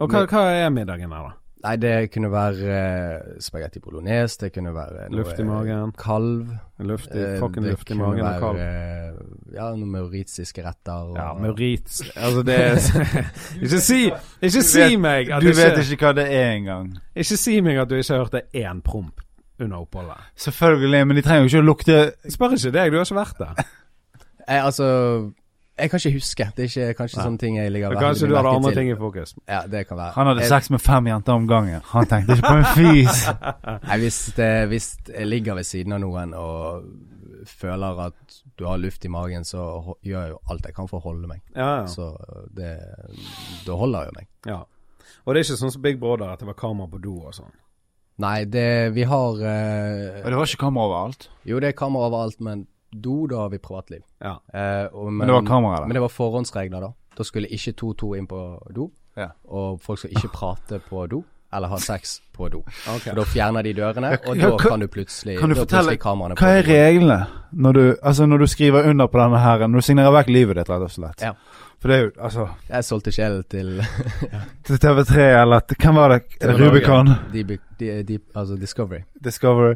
Speaker 1: Og hva, hva er middagen her, da?
Speaker 4: Nei, det kunne være eh, spagetti bolognese, det kunne være noe eh,
Speaker 1: Luft i magen.
Speaker 4: kalv.
Speaker 1: Luft i,
Speaker 4: eh,
Speaker 1: fucking
Speaker 4: det
Speaker 1: luft i
Speaker 4: kunne
Speaker 1: magen og
Speaker 4: være,
Speaker 1: kald.
Speaker 4: eh, Ja, noen mauritiske retter. Og,
Speaker 1: Ja, Maurits Altså, det er Ikke si, ikke si
Speaker 3: vet-
Speaker 1: meg at
Speaker 3: Du vet
Speaker 1: ikke,
Speaker 3: ikke hva det er engang.
Speaker 1: ikke si meg at du ikke hørte én promp under oppholdet.
Speaker 3: Selvfølgelig, men de trenger jo ikke å lukte
Speaker 1: Spør ikke deg, du har ikke vært der.
Speaker 4: Eh, altså, jeg kan ikke huske. Det er ikke kanskje sånne ting jeg ligger
Speaker 1: Men Kanskje du hadde andre ting
Speaker 4: til.
Speaker 1: i fokus.
Speaker 4: Ja, det kan være.
Speaker 3: Han hadde
Speaker 4: Jeg-
Speaker 3: sex med fem jenter om gangen. Han tenkte ikke på en fis.
Speaker 4: Nei, hvis, det, hvis jeg ligger ved siden av noen og føler at du har luft i magen, så ho- gjør jeg jo alt jeg kan for å holde meg.
Speaker 1: Ja, ja.
Speaker 4: Så det Da holder jeg jo meg.
Speaker 1: ja. Og det er ikke sånn som Big Brother at det var kamera på do og sånn.
Speaker 4: Nei, det Vi har eh,
Speaker 3: Og det var ikke kamera overalt.
Speaker 4: Jo, det er kamera overalt, men do, da har vi privatliv.
Speaker 1: Ja.
Speaker 4: Eh, og,
Speaker 3: Men det var kamera der.
Speaker 4: Men det var forhåndsregler, da. Da skulle ikke 2-2 inn på do.
Speaker 3: Ja.
Speaker 4: Og folk skal ikke prate på do, eller ha sex på do.
Speaker 1: Ok.
Speaker 4: Og da fjerner de dørene, og
Speaker 3: Ja,
Speaker 4: da
Speaker 3: hva-
Speaker 4: kan du plutselig
Speaker 3: Kan du
Speaker 4: Eh, da er
Speaker 3: fortelle
Speaker 4: plutselig kameraene
Speaker 3: hva
Speaker 4: på
Speaker 3: er
Speaker 4: do.
Speaker 3: reglene når du, altså når du skriver under på denne her, når du signerer vekk livet ditt, rett og slett?
Speaker 4: Ja.
Speaker 3: For det er jo, altså
Speaker 4: Jeg solgte sjelen til
Speaker 3: Til TV3 eller til- Hvem var det? Er det Rubicon?
Speaker 4: de, by- de, de, altså Discovery.
Speaker 3: Discovery.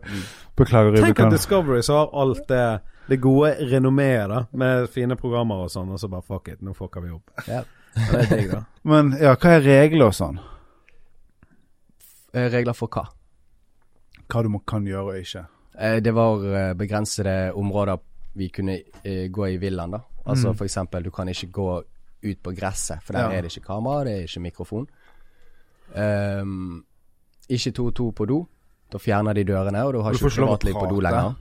Speaker 1: Tenk
Speaker 3: Beklager,
Speaker 1: at
Speaker 3: Rubicon.
Speaker 1: Discovery så har alt det, det gode renommeet, da, med fine programmer og sånn, og så bare fuck it, nå fucker vi opp.
Speaker 4: Ja.
Speaker 1: Det er digg, da.
Speaker 3: Men ja, hva er reglene og sånn?
Speaker 4: Eh, Regler for hva?
Speaker 3: Hva du må, kan gjøre og ikke.
Speaker 4: Eh, Det var eh, begrensede områder vi kunne eh, gå i villaen, da. Altså for eksempel, du kan ikke gå ut på gresset, for der
Speaker 3: Mm. Ja.
Speaker 4: er det ikke kamera, det er ikke mikrofon. Ehm, ikke 2-2 på do. Da fjerner de dørene, og du har
Speaker 3: Du får
Speaker 4: ikke
Speaker 3: ikke lov å
Speaker 4: privatliv på do
Speaker 3: prate.
Speaker 4: lenger.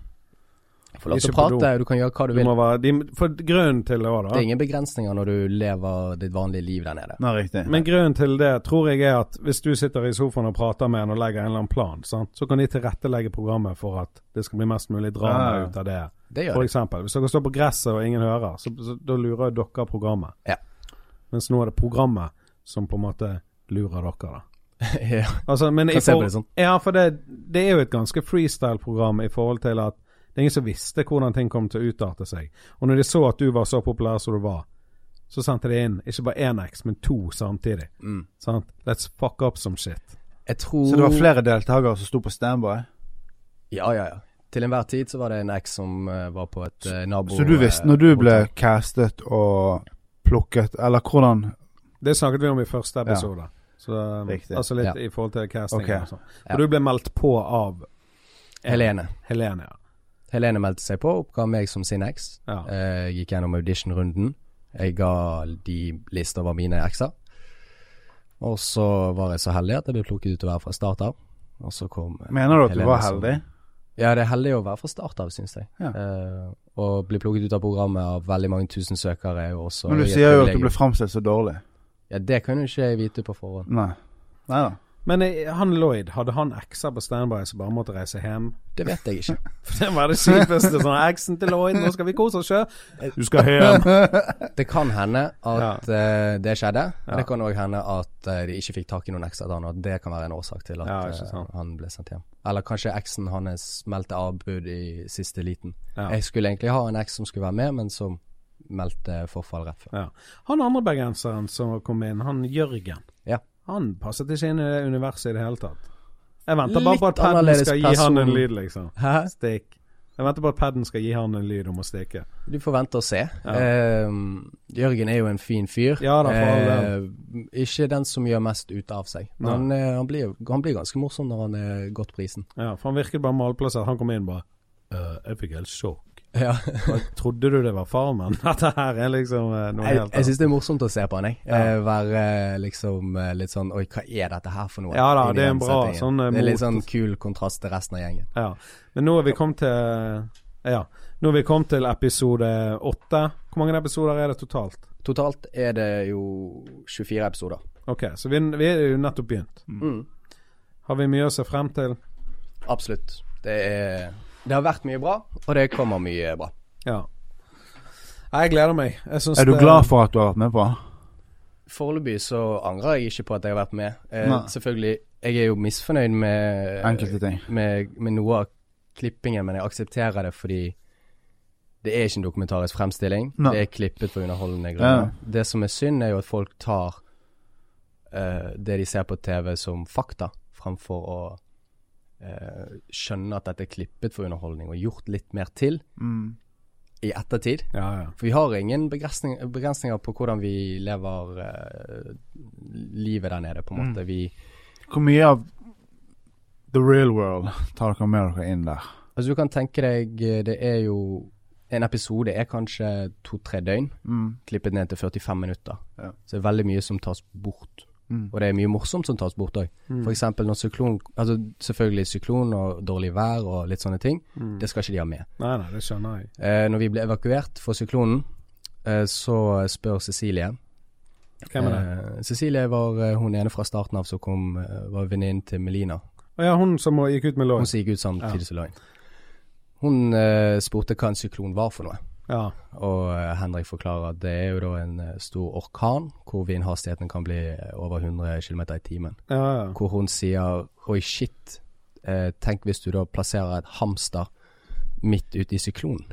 Speaker 4: Du får lov til å
Speaker 1: Ikke på do.
Speaker 4: prate, du kan gjøre hva du
Speaker 1: Du
Speaker 4: vil.
Speaker 1: må være, de, for grunnen til det òg,
Speaker 4: Det
Speaker 1: da.
Speaker 4: er ingen begrensninger når du lever ditt vanlige liv der nede.
Speaker 3: Nei, riktig.
Speaker 1: Men grunnen til det tror jeg er at hvis du sitter i sofaen og prater med en og legger en eller annen plan, sant? så kan de tilrettelegge programmet for at det skal bli mest mulig drama
Speaker 3: Ja, ja.
Speaker 1: ut av det.
Speaker 4: Det gjør
Speaker 1: For
Speaker 4: det.
Speaker 1: eksempel, hvis dere står på gresset og ingen hører, så, så da lurer jo dere programmet.
Speaker 4: Ja.
Speaker 1: Mens nå er det programmet som på en måte lurer dere, da.
Speaker 4: ja.
Speaker 1: Altså, men i
Speaker 4: Kan se på
Speaker 1: for-
Speaker 4: det sånn.
Speaker 1: Ja, for det, det er jo et ganske freestyle-program i forhold til at det er ingen som visste hvordan ting kom til å utarte seg. Og når de så at du var så populær som du var, så sendte de inn ikke bare én X, men to samtidig. Sant? Let's fuck up some shit.
Speaker 4: Mm. Jeg tror
Speaker 3: Så det var flere deltakere som sto på standby?
Speaker 4: Ja, ja, ja. Til enhver tid så var det en eks som eh, var på et eh, nabo...
Speaker 3: Så du visste når du
Speaker 4: eh,
Speaker 3: ble
Speaker 4: hotell.
Speaker 3: castet og plukket, eller hvordan
Speaker 1: Det snakket vi om i første episode. Så, um,
Speaker 3: Riktig.
Speaker 1: altså litt
Speaker 4: Ja.
Speaker 1: i forhold til casting.
Speaker 3: Ok.
Speaker 1: Og sånn.
Speaker 4: Ja.
Speaker 1: Og du ble meldt på av
Speaker 4: eh, Helene.
Speaker 1: Helene, ja.
Speaker 4: Helene meldte seg på, oppga meg som sin eks.
Speaker 1: Ja.
Speaker 4: Eh, gikk gjennom auditionrunden. Jeg ga de lister over mine ekser. Og så var jeg så heldig at jeg ble plukket ut å være fra start av. Og så kom eh,
Speaker 3: Mener du at du
Speaker 4: Helene
Speaker 3: var
Speaker 4: som-
Speaker 3: heldig?
Speaker 4: Ja, det er heldig å være fra start av, syns jeg.
Speaker 3: Ja.
Speaker 4: Eh, og bli plukket ut av programmet av veldig mange tusen søkere er jo også
Speaker 3: Men du
Speaker 4: et
Speaker 3: sier jo at du
Speaker 4: privilegium.
Speaker 3: ble fremstilt så dårlig.
Speaker 4: Ja, det kan jo ikke jeg vite på forhånd.
Speaker 3: Nei. Nei da.
Speaker 1: Men eh, han Lloyd, hadde han ekser på standby som bare måtte reise hjem?
Speaker 4: Det vet jeg ikke.
Speaker 1: For det var det kjipeste. Sånn eksen til Lloyd, nå skal vi kose oss sjø. Du skal hjem.
Speaker 4: Det kan hende at eh, det skjedde. Men det kan òg hende at eh, de ikke fikk tak i noen ekser til han, og at det kan være en årsak til at
Speaker 1: Ja, ikke
Speaker 4: eh,
Speaker 1: sant.
Speaker 4: han ble sendt hjem. Eller kanskje eksen hans meldte avbud i siste liten.
Speaker 1: Ja.
Speaker 4: Jeg skulle egentlig ha en eks som skulle være med, men som meldte forfall rett før.
Speaker 1: Ja. Han andre bergenseren som kom inn, han Jørgen,
Speaker 4: Ja.
Speaker 1: han passet ikke inn i det universet i det hele tatt. Jeg venter bare på
Speaker 4: Litt
Speaker 1: at paden
Speaker 4: annerledes
Speaker 1: skal gi han en
Speaker 4: person.
Speaker 1: lyd, liksom.
Speaker 4: Hæ?
Speaker 1: Stikk. Jeg venter på at paden skal gi han en lyd om å stikke.
Speaker 4: Du får vente og se. Eh, Jørgen er jo en fin fyr.
Speaker 1: Ja da, for all
Speaker 4: Eh, ikke den som gjør mest ut av seg. Men han, eh, han, blir, han blir ganske morsom når han er godt prisen.
Speaker 1: Ja, for han virket bare malplassert. Han kom inn bare «Øh, Jeg fikk helt sjokk.
Speaker 4: Ja.
Speaker 1: Trodde du det var farmen? Dette her er liksom eh, noe
Speaker 4: Jeg,
Speaker 1: helt
Speaker 4: jeg
Speaker 1: annet.
Speaker 4: syns det er morsomt å se på han, jeg. Eh, være eh, liksom eh, litt sånn Oi, hva er dette her for noe?
Speaker 1: Ja da,
Speaker 4: Inni
Speaker 1: det er en
Speaker 4: den
Speaker 1: bra
Speaker 4: settingen.
Speaker 1: sånn, eh,
Speaker 4: Det er litt
Speaker 1: mot-
Speaker 4: sånn kul kontrast til resten av gjengen.
Speaker 1: Ja. Men nå er vi kommet til Ja. Nå er vi kommet til episode åtte. Hvor mange episoder er det totalt?
Speaker 4: Totalt er det jo 24 episoder.
Speaker 1: Ok, så vi, vi er jo nettopp begynt.
Speaker 4: Mm.
Speaker 1: Har vi mye å se frem til?
Speaker 4: Absolutt. Det er Det har vært mye bra, og det kommer mye bra.
Speaker 1: Ja. Nei, Jeg gleder meg. Jeg syns
Speaker 3: Er du
Speaker 1: det-
Speaker 3: glad for at du har vært med på?
Speaker 4: Foreløpig så angrer jeg ikke på at jeg har vært med. Eh,
Speaker 3: Nei.
Speaker 4: selvfølgelig, jeg er jo misfornøyd med
Speaker 3: Enkelte ting.
Speaker 4: med, med noe av klippingen, men jeg aksepterer det fordi det er ikke en dokumentarisk fremstilling.
Speaker 3: Nei.
Speaker 4: Det er klippet på underholdende grunner. Det som er synd, er jo at folk tar eh, det de ser på TV som fakta, fremfor å eh, skjønne at dette er klippet for underholdning, og gjort litt mer til
Speaker 3: Mm.
Speaker 4: i ettertid.
Speaker 1: Ja, ja.
Speaker 4: For vi har ingen begrensning, begrensninger på hvordan vi lever eh, livet der nede, på en måte. Vi,
Speaker 3: Hvor mye av the real world tar dere med dere inn der?
Speaker 4: Altså du kan tenke deg, eh, det er jo En episode er kanskje to-tre døgn,
Speaker 3: Mm.
Speaker 4: klippet ned til 45 minutter.
Speaker 3: Ja.
Speaker 4: Så det er veldig mye som tas bort.
Speaker 3: Mm.
Speaker 4: Og det er mye morsomt som tas bort òg.
Speaker 1: Mm.
Speaker 4: For eksempel når syklon Altså selvfølgelig syklon og dårlig vær og litt sånne ting. Det skal ikke de ha med.
Speaker 1: Mm. Nei, nei, det skjønner jeg.
Speaker 4: Eh, når vi ble evakuert for syklonen, eh, så spør Cecilie
Speaker 1: Hvem er det?
Speaker 4: Eh, Cecilie var eh, hun ene fra starten av som kom, eh, var venninnen til Melina.
Speaker 1: Å ja, hun som gikk ut med
Speaker 4: Hun
Speaker 1: lås.
Speaker 4: som gikk ut samtidig som Løgn. Hun eh, spurte hva en syklon var for noe.
Speaker 1: Ja.
Speaker 4: Og eh, Henrik forklarer at det er jo da en eh, stor orkan hvor vindhastigheten kan bli eh, over 100 km i timen.
Speaker 1: Ja, ja.
Speaker 4: Hvor hun sier 'oi, shit', eh, tenk hvis du da plasserer et hamster midt ute i syklonen.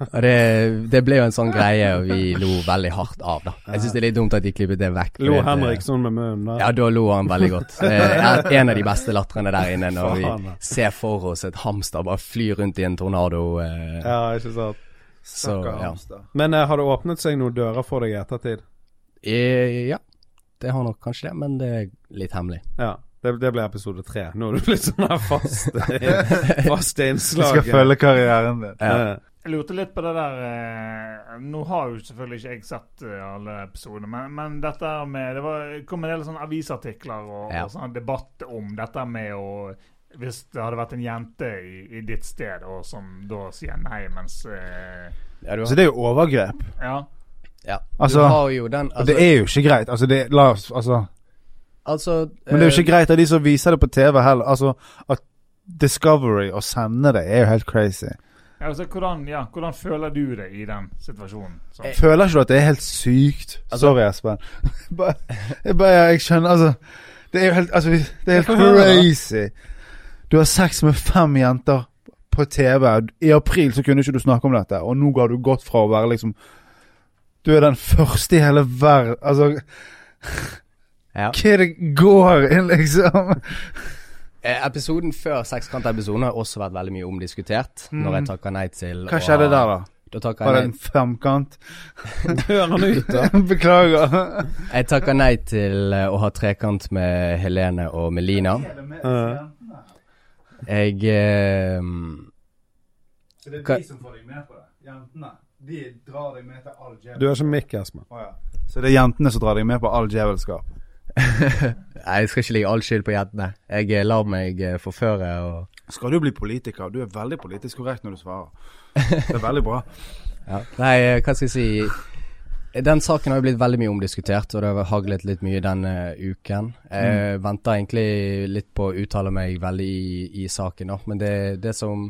Speaker 4: og det, det ble jo en sånn greie og vi lo veldig hardt av, da. Jeg syns det er litt dumt at de klippet det vekk. fordi
Speaker 1: Lo
Speaker 4: at, eh,
Speaker 1: Henrik sånn med munnen der?
Speaker 4: Ja, da lo han veldig godt. Eh, Det er en av de beste latrene der inne når
Speaker 1: Faen,
Speaker 4: vi
Speaker 1: da.
Speaker 4: ser for oss et hamster bare fly rundt i en tornado. Eh,
Speaker 1: Ja, ikke sant.
Speaker 4: så, ja.
Speaker 1: Men eh, har det åpnet seg noen dører for deg i ettertid?
Speaker 4: Eh, ja, det har nok kanskje det, men det er litt hemmelig.
Speaker 1: Ja. Det, det ble episode tre. Nå er du blitt sånn her fast, fast
Speaker 3: Du
Speaker 1: innslag.
Speaker 3: skal følge karrieren din.
Speaker 1: Ja.
Speaker 2: Jeg lurte litt på det der eh, Nå har jo selvfølgelig ikke jeg sett eh, alle episodene, men, men dette her med Det var, kom en del sånne avisartikler og,
Speaker 4: Ja.
Speaker 2: og sånn debatt om dette med å Hvis det hadde vært en jente i, i ditt sted, og som da sier nei, mens eh,
Speaker 4: Ja, du
Speaker 3: Så
Speaker 4: har,
Speaker 3: det er jo overgrep.
Speaker 2: Ja.
Speaker 4: ja.
Speaker 3: Altså,
Speaker 4: du har jo den
Speaker 3: Og
Speaker 4: altså,
Speaker 3: det er jo ikke greit. Altså, det, la oss, altså
Speaker 4: altså,
Speaker 3: Men det er jo
Speaker 4: eh,
Speaker 3: ikke greit av de som viser det på TV heller. Altså, at Discovery å sende det er jo helt crazy.
Speaker 2: Altså, hvordan, ja, hvordan føler du det i den situasjonen? Så,
Speaker 4: Eh,
Speaker 3: Føler ikke du at det er helt sykt?
Speaker 1: Altså-
Speaker 3: Sorry, Espen. Bare- jeg bare Jeg skjønner Altså, det er jo helt, altså, vi- det er helt
Speaker 1: kan høre det.
Speaker 3: crazy. Du har sex med fem jenter på TV. I april så kunne ikke du snakke om dette, og nå har du gått fra å være liksom Du er den første i hele verden Altså,
Speaker 4: ja.
Speaker 3: hva det går i, liksom?
Speaker 4: Eh, Episoden før Sekskantepisoden har også vært veldig mye omdiskutert. Når jeg takker nei til
Speaker 3: Mm. Hva skjedde der, da?
Speaker 4: Da takker
Speaker 3: Var det
Speaker 4: jeg,
Speaker 3: en
Speaker 4: nei,
Speaker 3: femkant?
Speaker 1: Døren ut, da.
Speaker 3: Beklager.
Speaker 4: jeg takker nei til eh, å ha trekant med Helene og Melina.
Speaker 1: Eh,
Speaker 4: Jeg eh,
Speaker 3: Så det er
Speaker 4: Hva-
Speaker 3: de som får deg med på det? Jentene? De drar deg med til all djevelskap?
Speaker 1: du har ikke mikk, Espen.
Speaker 3: Å ja. Så det er jentene som drar deg med på all djevelskap?
Speaker 4: Nei, jeg skal ikke legge all skyld på jentene. Jeg eh, lar meg eh, forføre og
Speaker 3: Skal du bli politiker? Du er veldig politisk korrekt når du svarer. Det er veldig bra.
Speaker 4: Ja. Nei, eh, hva skal jeg si Den saken har jo blitt veldig mye omdiskutert, og det har haglet litt mye denne uken. Jeg venter egentlig litt på å uttale meg veldig i, i saken, da. Men det, det som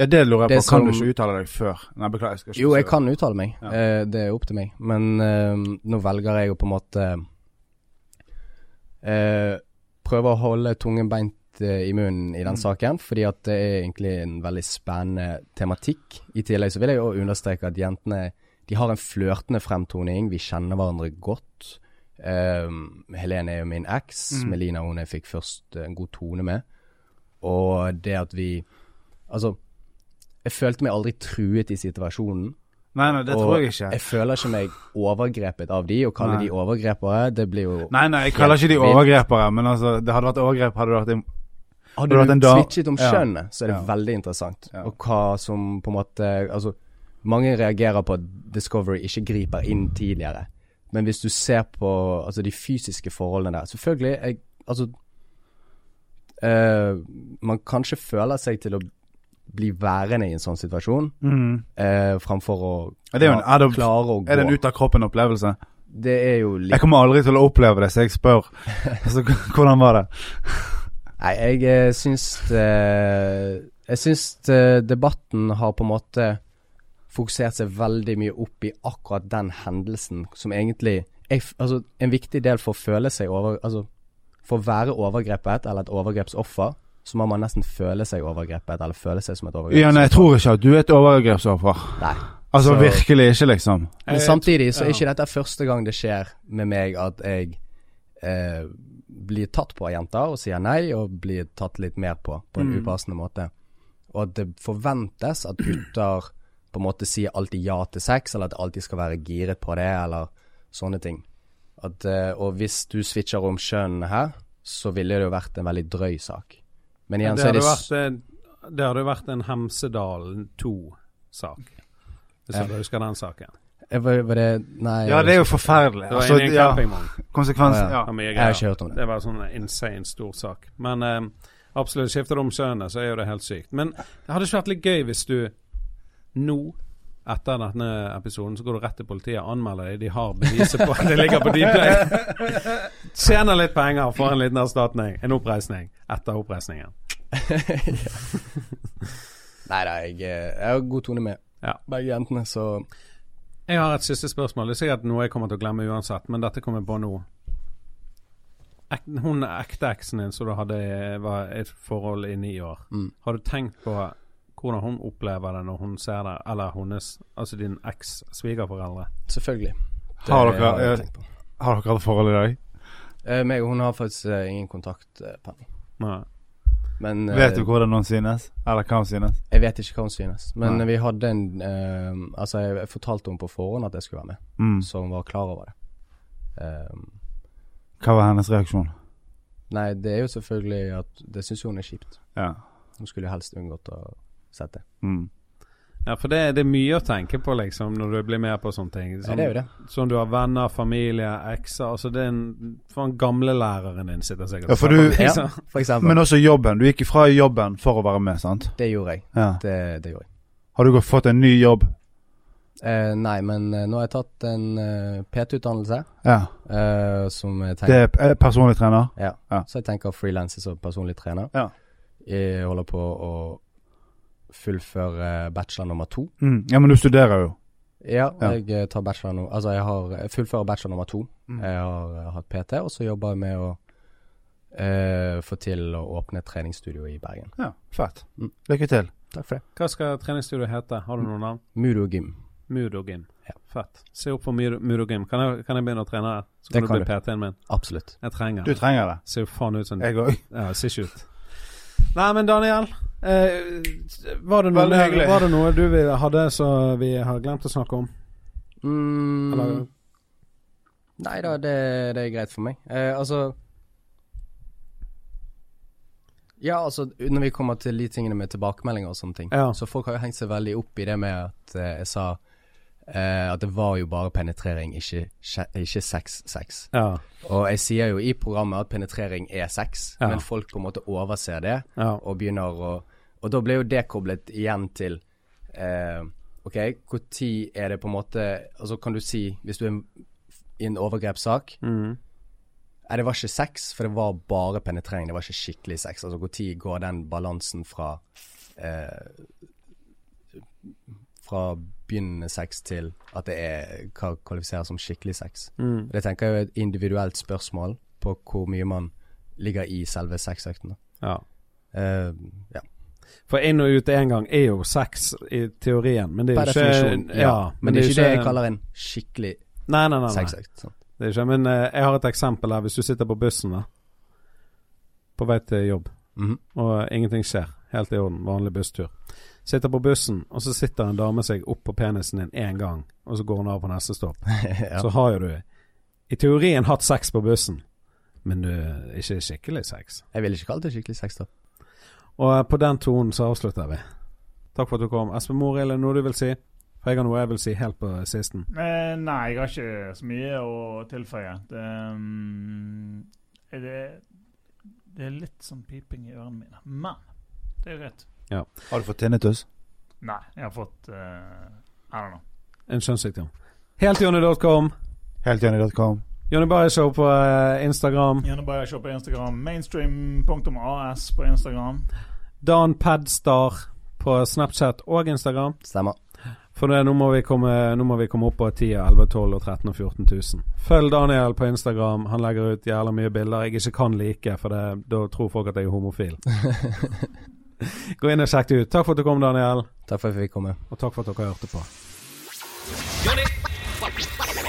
Speaker 3: Ja, det lurer
Speaker 4: Det
Speaker 3: jeg på. Kan
Speaker 4: som-
Speaker 3: du ikke uttale deg før? Nei, beklager. jeg skal ikke
Speaker 4: Jo, jeg
Speaker 3: forsøke.
Speaker 4: kan uttale meg.
Speaker 3: Ja.
Speaker 4: Eh, Det er opp til meg. Men eh, nå velger jeg å på en måte eh, prøve å holde tungen beint eh, i munnen i den saken, fordi at det er egentlig en veldig spennende tematikk. I tillegg så vil jeg jo understreke at jentene De har en flørtende fremtoning. Vi kjenner hverandre godt. Ehm, Helene er jo min eks. Melina hun jeg fikk først eh, en god tone med. Og det at vi Altså, jeg følte meg aldri truet i situasjonen.
Speaker 3: Nei, nei, det
Speaker 4: og
Speaker 3: tror jeg ikke.
Speaker 4: Jeg føler ikke meg overgrepet av de. Å kalle
Speaker 3: Nei.
Speaker 4: de overgrepere, det blir jo
Speaker 3: Nei, nei, jeg kaller ikke de
Speaker 4: Helt vilt.
Speaker 3: overgrepere, men altså, det hadde vært overgrep hadde det vært im-
Speaker 4: Hadde
Speaker 3: Har
Speaker 4: du
Speaker 3: du hatt en da-
Speaker 4: switchet om
Speaker 3: Ja.
Speaker 4: kjønnet, så er det
Speaker 3: Ja.
Speaker 4: veldig interessant.
Speaker 3: Ja.
Speaker 4: Og hva som på en måte Altså, mange reagerer på at Discovery ikke griper inn tidligere. Men hvis du ser på altså, de fysiske forholdene der Selvfølgelig, jeg, altså eh, Man kanskje føler seg til å bli værende i en sånn situasjon, eh, framfor å
Speaker 3: Er Mm. det jo en
Speaker 4: kla-
Speaker 3: adult-
Speaker 4: klare å gå.
Speaker 3: Er det en ut av kroppen-opplevelse?
Speaker 4: det er jo litt
Speaker 3: Jeg kommer aldri til å oppleve det, så jeg spør. Altså, hvordan var det?
Speaker 4: Nei, jeg eh, syns eh, Jeg syns eh, debatten har på en måte fokusert seg veldig mye opp i akkurat den hendelsen som egentlig jeg, f- Altså, en viktig del for å føle seg over... Altså, for å være overgrepet eller et overgrepsoffer, så må man nesten føle seg overgrepet eller føle seg som et overgrepsoffer.
Speaker 3: Ja, nei, jeg tror ikke at du er et overgrepsoffer.
Speaker 4: Nei.
Speaker 3: Altså
Speaker 4: Så-
Speaker 3: virkelig ikke, liksom.
Speaker 4: Men
Speaker 1: Jeg-
Speaker 4: samtidig så er
Speaker 1: ja.
Speaker 4: ikke dette første gang det skjer med meg at jeg eh, blir tatt på av jenter og sier nei, og blir tatt litt mer på på
Speaker 1: Mm.
Speaker 4: en upassende måte. Og at det forventes at gutter på en måte sier alltid ja til sex, eller at de alltid skal være giret på det, eller sånne ting. At, eh, og hvis du switcher om kjønn her, så ville det jo vært en veldig drøy sak. Men igjen så
Speaker 1: Det
Speaker 4: er
Speaker 1: hadde
Speaker 4: det s-
Speaker 1: vært en, det hadde vært en Hemsedalen 2-sak. Hvis du husker den saken.
Speaker 4: Eh, var, var det Nei.
Speaker 3: Ja, det er jo forferdelig.
Speaker 1: Det var
Speaker 3: Altså,
Speaker 1: en i en
Speaker 3: ja,
Speaker 1: campingvogn.
Speaker 3: konsekvensen,
Speaker 4: Ja,
Speaker 3: ja.
Speaker 1: Ja, men
Speaker 4: Jeg har ikke hørt om det.
Speaker 1: Det var sånn insane stor sak. Men eh, absolutt, skifter du om kjønnet, så er jo det helt sykt. Men det hadde ikke vært litt gøy hvis du nå, etter denne episoden, så går du rett til politiet og anmelder dem. De har beviset på at det ligger på Dplay. Tjener litt penger, får en liten erstatning. En oppreisning etter oppreisningen.
Speaker 4: Nei da, jeg, eh, jeg har god tone med
Speaker 1: Ja.
Speaker 4: begge jentene, så
Speaker 1: Jeg har et siste spørsmål. Det er sikkert noe jeg kommer til å glemme uansett, men dette kommer jeg på nå. Ek, hun ekte eksen din som du hadde eh, var i et forhold i ni år,
Speaker 4: Mm.
Speaker 1: har du tenkt på hvordan hun opplever det når hun ser det, eller hennes, altså din eks svigerforeldre?
Speaker 4: Selvfølgelig. Det
Speaker 3: Har dere-
Speaker 4: jeg
Speaker 3: eh,
Speaker 4: tenkt på.
Speaker 3: Har dere hatt forhold i dag?
Speaker 4: Eh, meg og hun har faktisk eh, ingen kontakt, eh, Penny.
Speaker 1: Nei.
Speaker 4: Men eh,
Speaker 3: Vet du hvordan noen synes? Eller hva hun synes?
Speaker 4: jeg vet ikke hva hun synes. Men
Speaker 3: Nei.
Speaker 4: vi hadde en eh, Altså, jeg, jeg fortalte henne på forhånd at jeg skulle være med,
Speaker 3: Mm.
Speaker 4: så hun var klar over det. Eh,
Speaker 3: Hva var hennes reaksjon?
Speaker 4: nei, det er jo selvfølgelig at Det syns jo hun er kjipt.
Speaker 3: Ja.
Speaker 4: Hun skulle helst unngått å sett det.
Speaker 3: Mm.
Speaker 1: Ja, for det, det er mye å tenke på, liksom, når du blir med på sånne ting.
Speaker 4: Ja,
Speaker 1: Sånn,
Speaker 4: det er jo det.
Speaker 1: sånn du har venner, familie, ekser Altså, det er en Faen, gamlelæreren din sitter sikkert
Speaker 3: Ja, for du-
Speaker 1: og ser på, liksom.
Speaker 4: Ja, for eksempel.
Speaker 3: Men også jobben. Du gikk ifra jobben for å være med, sant?
Speaker 4: det gjorde jeg.
Speaker 3: Ja.
Speaker 4: Det, det gjorde jeg.
Speaker 3: Har du gått- fått en ny jobb?
Speaker 4: Eh, nei, men eh, nå har jeg tatt en eh, PT-utdannelse
Speaker 3: Ja.
Speaker 4: eh, som jeg tenker
Speaker 3: Det er p- eh, personlig trener?
Speaker 4: Ja.
Speaker 3: Ja.
Speaker 4: Så jeg tenker frilanser som personlig trener.
Speaker 3: Ja.
Speaker 4: Jeg holder på å fullføre bachelor nummer to.
Speaker 3: Mm. Ja, men du studerer jo.
Speaker 4: Ja,
Speaker 3: Ja.
Speaker 4: jeg eh, tar bachelor no, Altså, jeg, har, jeg fullfører bachelor nummer to. Jeg har eh, hatt PT, og så jobber jeg med å eh, få til å åpne et treningsstudio i Bergen.
Speaker 3: Ja, fett.
Speaker 4: Mm.
Speaker 3: Lykke til.
Speaker 4: Takk for det.
Speaker 1: Hva skal treningsstudioet hete? Har du noe navn?
Speaker 4: Mudo gym.
Speaker 1: Mudogym.
Speaker 4: Ja.
Speaker 1: Fett. Se opp på Mur- Mudogym. Kan, jeg- kan jeg begynne å trene her? Så
Speaker 4: Det
Speaker 1: kan du
Speaker 4: kan
Speaker 1: bli PT-en min.
Speaker 4: Absolutt.
Speaker 1: Jeg trenger
Speaker 3: Du
Speaker 1: det.
Speaker 3: trenger det.
Speaker 1: Ser jo faen ut som
Speaker 3: Jeg òg.
Speaker 1: Ja, ser ikke ut. Nei, men Daniel. Eh, var, det noe,
Speaker 3: Veldig hyggelig.
Speaker 1: var det noe du vil- hadde som vi har glemt å snakke om? Eller-
Speaker 4: Mm, nei da, det, det er greit for meg. Eh, altså Ja, altså, når vi kommer til de tingene med tilbakemeldinger og sånne ting,
Speaker 1: Ja.
Speaker 4: så folk har jo hengt seg veldig opp i det med at eh, jeg sa eh, at det var jo bare penetrering, ikke sje- ikke sex-sex.
Speaker 1: Ja.
Speaker 4: Og jeg sier jo i programmet at penetrering er sex,
Speaker 1: Ja.
Speaker 4: men folk på en måte overser det
Speaker 1: ja.
Speaker 4: og begynner å Og da ble jo det koblet igjen til eh, OK, når er det på en måte Altså, kan du si, hvis du er i en overgrepssak
Speaker 1: Mhm.
Speaker 4: Nei, det var ikke sex, for det var bare penetrering. Det var ikke skikkelig sex. Altså, når går den balansen fra eh, Fra begynnende sex til at det er hva kvalifiseres som skikkelig sex.
Speaker 1: Mm.
Speaker 4: Det tenker jeg er et individuelt spørsmål på hvor mye man ligger i selve sexøkten. da.
Speaker 1: ja.
Speaker 4: Eh, ja.
Speaker 1: For inn og ut én gang er jo sex i teorien, men det er
Speaker 4: Per
Speaker 1: jo ikke
Speaker 4: definisjon.
Speaker 1: ja,
Speaker 4: Men det er ikke det jeg
Speaker 1: ikke-
Speaker 4: kaller en skikkelig sånn.
Speaker 1: Nei, nei, nei. nei.
Speaker 4: sexøkt. sant?
Speaker 1: Det er ikke, men eh, jeg har et eksempel her. Hvis du sitter på bussen da, på vei til jobb,
Speaker 4: Mhm.
Speaker 1: og ingenting skjer, helt i orden, vanlig busstur. Sitter på bussen, og så sitter en dame seg opp på penisen din én gang, og så går hun av på neste stopp.
Speaker 4: Ja.
Speaker 1: Så har jo du i teorien hatt sex på bussen, men du ikke skikkelig sex.
Speaker 4: Jeg ville ikke kalt det skikkelig sex, da.
Speaker 1: Og eh, på den tonen så avslutter vi. Takk for at du kom. Espen Morild, er det noe du vil si? For jeg har noe jeg vil si helt på sisten.
Speaker 2: Eh, nei, jeg har ikke så mye å tilføye. Det, mm, er det, det er litt sånn piping i ørene mine. Men det er greit.
Speaker 3: Har du fått tinnitus?
Speaker 2: Nei, jeg har fått eh, I don't know.
Speaker 1: En kjønnssykdom. Heltjonny.com.
Speaker 3: Heltjonny.com.
Speaker 1: Jonny Bayer Show på eh, Instagram.
Speaker 2: Gjerne bare se på Instagram. Mainstream.as på Instagram.
Speaker 1: Dan Padstar på Snapchat og Instagram.
Speaker 4: Stemmer.
Speaker 1: For det, nå, må vi komme, nå må vi komme opp på 10, 11, 12, og 13 og 14 000. Følg Daniel på Instagram. Han legger ut jævla mye bilder jeg ikke kan like, for det, da tror folk at jeg er homofil. Gå inn og sjekk det ut. Takk for at du kom, Daniel,
Speaker 4: Takk for at jeg fikk komme.
Speaker 1: og takk for at dere hørte på.
Speaker 6: Jonny.